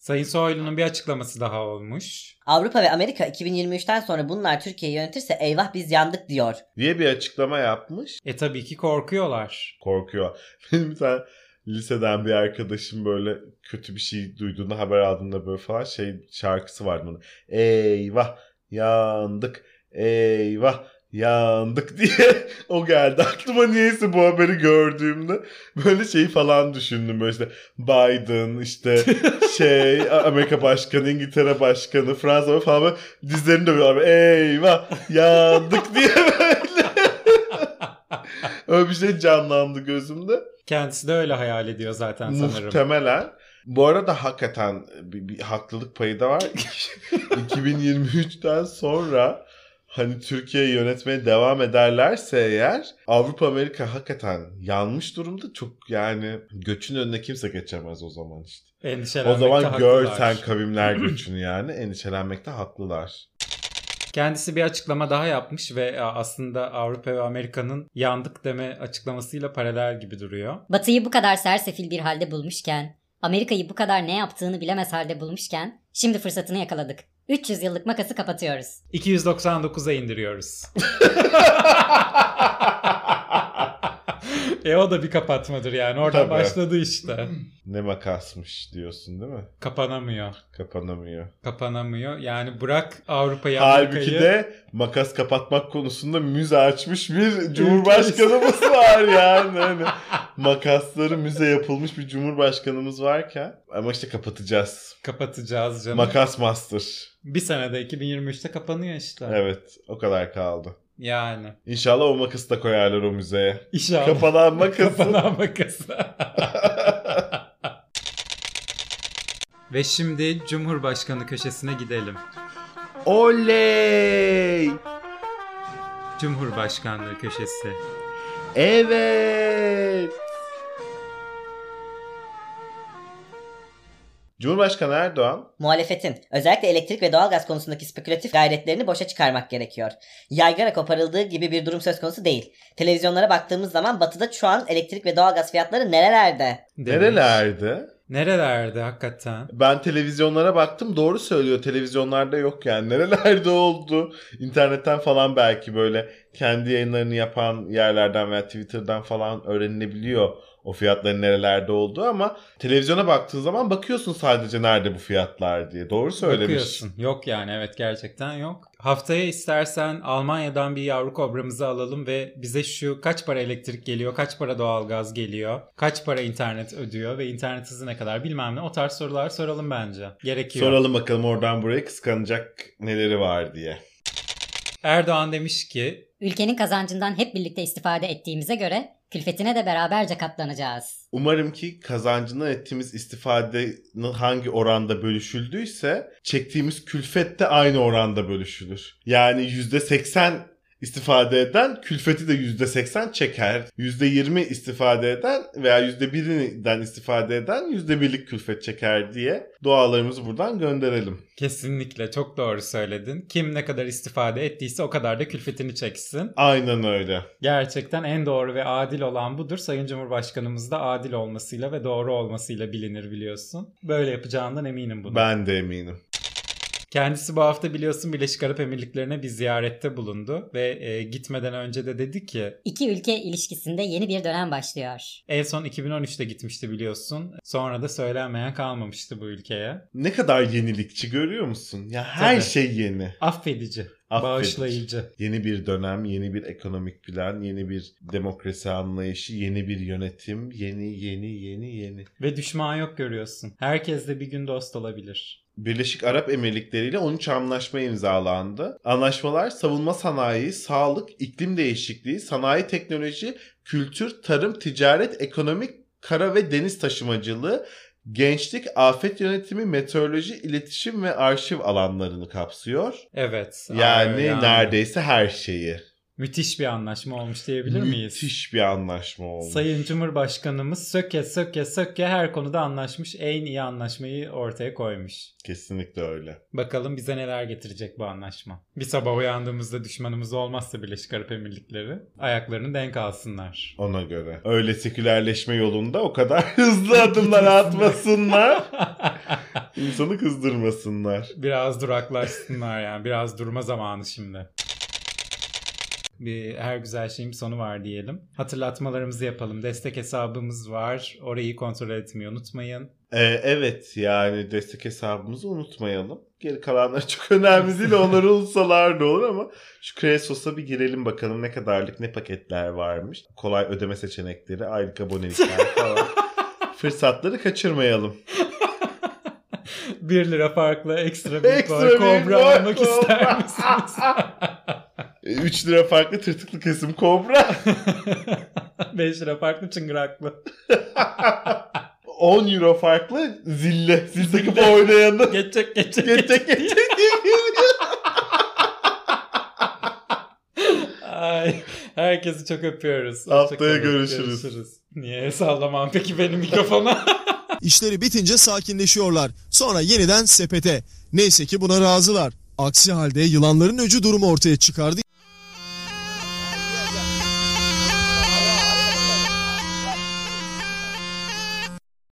Speaker 4: Sayın Soylu'nun bir açıklaması daha olmuş.
Speaker 6: Avrupa ve Amerika 2023'ten sonra bunlar Türkiye'yi yönetirse eyvah biz yandık diyor.
Speaker 5: diye bir açıklama yapmış.
Speaker 4: E tabii ki korkuyorlar.
Speaker 5: korkuyor. [LAUGHS] Benim bir tane liseden bir arkadaşım böyle kötü bir şey duyduğunda haber aldığında böyle falan şey şarkısı vardı onun. Eyvah yandık eyvah yandık [LAUGHS] diye o geldi aklıma niyeyse bu haberi gördüğümde böyle şeyi falan düşündüm böyle işte Biden işte şey Amerika Başkanı İngiltere Başkanı Fransa falan böyle dizlerini dövüyorlar böyle, eyvah yandık diye böyle öyle bir şey canlandı gözümde
Speaker 4: Kendisi de öyle hayal ediyor zaten sanırım.
Speaker 5: Muhtemelen. Bu arada
Speaker 4: [LAUGHS]
Speaker 5: hakikaten bir, bir haklılık payı da var. 2023'ten sonra hani Türkiye'yi yönetmeye devam ederlerse eğer Avrupa Amerika hakikaten yanlış durumda çok yani göçün önüne kimse geçemez o zaman işte. O
Speaker 4: Endişelenmekte
Speaker 5: zaman gör
Speaker 4: haklılar.
Speaker 5: sen
Speaker 4: [CLEARS THROAT]
Speaker 5: kavimler göçünü yani endişelenmekte haklılar.
Speaker 4: Kendisi bir açıklama daha yapmış ve a, aslında Avrupa ve Amerika'nın yandık deme açıklamasıyla paralel gibi duruyor.
Speaker 1: Batı'yı bu kadar sersefil bir halde bulmuşken, Amerika'yı bu kadar ne yaptığını bilemez halde bulmuşken, şimdi fırsatını yakaladık. 300 yıllık makası kapatıyoruz.
Speaker 4: 299'a indiriyoruz. [LAUGHS] e o da bir kapatmadır yani. Oradan
Speaker 5: Tabii.
Speaker 4: başladı işte.
Speaker 5: Ne makasmış diyorsun değil mi?
Speaker 4: Kapanamıyor.
Speaker 5: Kapanamıyor.
Speaker 4: Kapanamıyor. Yani bırak Avrupa'yı
Speaker 5: Halbuki
Speaker 4: Amerika'yı.
Speaker 5: de makas kapatmak konusunda müze açmış bir cumhurbaşkanımız var yani. Hani makasları müze yapılmış bir cumhurbaşkanımız varken ama işte kapatacağız.
Speaker 4: kapatacağız canım.
Speaker 5: Makas master.
Speaker 4: bir senede 2023'te kapanıyor işte.
Speaker 5: Evet o kadar kaldı.
Speaker 4: Yani.
Speaker 5: İnşallah o makası da koyarlar o müzeye.
Speaker 4: İnşallah.
Speaker 5: Kapanan makası.
Speaker 4: Kapanan makası. [LAUGHS] Ve şimdi Cumhurbaşkanı köşesine gidelim.
Speaker 5: [LAUGHS] Oley!
Speaker 4: Cumhurbaşkanlığı köşesi.
Speaker 5: Evet. Cumhurbaşkanı Erdoğan
Speaker 6: Muhalefetin özellikle elektrik ve doğalgaz konusundaki spekülatif gayretlerini boşa çıkarmak gerekiyor. Yaygara koparıldığı gibi bir durum söz konusu değil. Televizyonlara baktığımız zaman batıda şu an elektrik ve doğalgaz fiyatları nerelerde?
Speaker 4: demiş.
Speaker 5: nerelerde?
Speaker 4: Nerelerde hakikaten.
Speaker 5: Ben televizyonlara baktım doğru söylüyor televizyonlarda yok yani [LAUGHS] nerelerde oldu internetten falan belki böyle kendi yayınlarını yapan yerlerden veya Twitter'dan falan öğrenilebiliyor o fiyatların nerelerde olduğu ama televizyona baktığın zaman bakıyorsun sadece nerede bu fiyatlar diye doğru söylemiş.
Speaker 4: Bakıyorsun. Yok yani evet gerçekten yok. Haftaya istersen Almanya'dan bir yavru kobramızı alalım ve bize şu kaç para elektrik geliyor, kaç para doğalgaz geliyor, kaç para internet ödüyor ve internet hızı ne kadar bilmem ne o tarz sorular soralım bence. Gerekiyor.
Speaker 5: Soralım bakalım oradan buraya kıskanacak neleri var diye.
Speaker 4: Erdoğan demiş ki
Speaker 1: Ülkenin kazancından hep birlikte istifade ettiğimize göre külfetine de beraberce katlanacağız.
Speaker 5: Umarım ki kazancından ettiğimiz istifadenin hangi oranda bölüşüldüyse çektiğimiz külfet de aynı oranda bölüşülür. Yani %80 istifade eden külfeti de %80 çeker. %20 istifade eden veya %1'den istifade eden %1'lik külfet çeker diye dualarımızı buradan gönderelim.
Speaker 4: kesinlikle çok doğru söyledin. Kim ne kadar istifade ettiyse o kadar da külfetini çeksin.
Speaker 5: Aynen öyle.
Speaker 4: Gerçekten en doğru ve adil olan budur. Sayın Cumhurbaşkanımız da adil olmasıyla ve doğru olmasıyla bilinir biliyorsun. Böyle yapacağından eminim bunu.
Speaker 5: Ben de eminim.
Speaker 4: Kendisi bu hafta biliyorsun Birleşik Arap Emirlikleri'ne bir ziyarette bulundu ve e, gitmeden önce de dedi ki
Speaker 1: İki ülke ilişkisinde yeni bir dönem başlıyor.
Speaker 4: en son 2013'te gitmişti biliyorsun. Sonra da söylenmeyen kalmamıştı bu ülkeye.
Speaker 5: Ne kadar yenilikçi görüyor musun? Ya her
Speaker 4: Tabii.
Speaker 5: şey yeni.
Speaker 4: Affedici,
Speaker 5: Affedici.
Speaker 4: bağışlayıcı.
Speaker 5: Yeni bir dönem, yeni bir ekonomik plan, yeni bir demokrasi anlayışı, yeni bir yönetim, yeni yeni yeni yeni.
Speaker 4: Ve düşman yok görüyorsun. Herkes de bir gün dost olabilir.
Speaker 5: Birleşik Arap Emirlikleri ile 13 anlaşma imzalandı. Anlaşmalar savunma sanayi, sağlık, iklim değişikliği, sanayi teknoloji, kültür, tarım, ticaret, ekonomik, kara ve deniz taşımacılığı, gençlik, afet yönetimi, meteoroloji, iletişim ve arşiv alanlarını kapsıyor.
Speaker 4: Evet.
Speaker 5: Yani,
Speaker 4: Aa,
Speaker 5: neredeyse her şeyi.
Speaker 4: Müthiş bir anlaşma olmuş diyebilir miyiz?
Speaker 5: Müthiş bir anlaşma olmuş.
Speaker 4: Sayın Cumhurbaşkanımız söke söke söke her konuda anlaşmış. En iyi anlaşmayı ortaya koymuş.
Speaker 5: Kesinlikle öyle.
Speaker 4: Bakalım bize neler getirecek bu anlaşma. Bir sabah uyandığımızda düşmanımız olmazsa Birleşik Arap Emirlikleri ayaklarını denk alsınlar. [LAUGHS]
Speaker 5: Ona göre. Öyle sekülerleşme yolunda o kadar [LAUGHS] hızlı adımlar atmasınlar. insanı kızdırmasınlar.
Speaker 4: biraz duraklaşsınlar yani. Biraz durma zamanı şimdi. Bir, her güzel şeyin bir sonu var diyelim. Hatırlatmalarımızı yapalım. Destek hesabımız var. Orayı kontrol etmeyi unutmayın.
Speaker 5: Ee, evet yani destek hesabımızı unutmayalım. Geri kalanlar çok önemli değil. Onları unutsalar da olur ama şu Kresos'a bir girelim bakalım ne kadarlık ne paketler varmış. Kolay ödeme seçenekleri, aylık abonelikler falan. Fırsatları kaçırmayalım.
Speaker 4: 1 lira farkla ekstra bir
Speaker 5: Ekstra
Speaker 4: boy
Speaker 5: bir
Speaker 4: kobra
Speaker 5: boy
Speaker 4: almak
Speaker 5: kobra.
Speaker 4: ister misiniz? [LAUGHS]
Speaker 5: 3 Ee, lira farklı tırtıklı kesim kobra. [LAUGHS]
Speaker 4: 5 lira farklı çıngıraklı.
Speaker 5: 10 euro farklı zille. Zil takıp oynayanı.
Speaker 4: Geçecek geçecek.
Speaker 5: Geçecek geçecek.
Speaker 4: Herkesi çok öpüyoruz.
Speaker 5: Haftaya
Speaker 4: Hoşçakalın,
Speaker 5: görüşürüz.
Speaker 4: Niye sallamam peki benim mikrofona?
Speaker 2: İşleri bitince sakinleşiyorlar. Sonra yeniden sepete. Neyse ki buna razılar. Aksi halde yılanların öcü durumu ortaya çıkardı.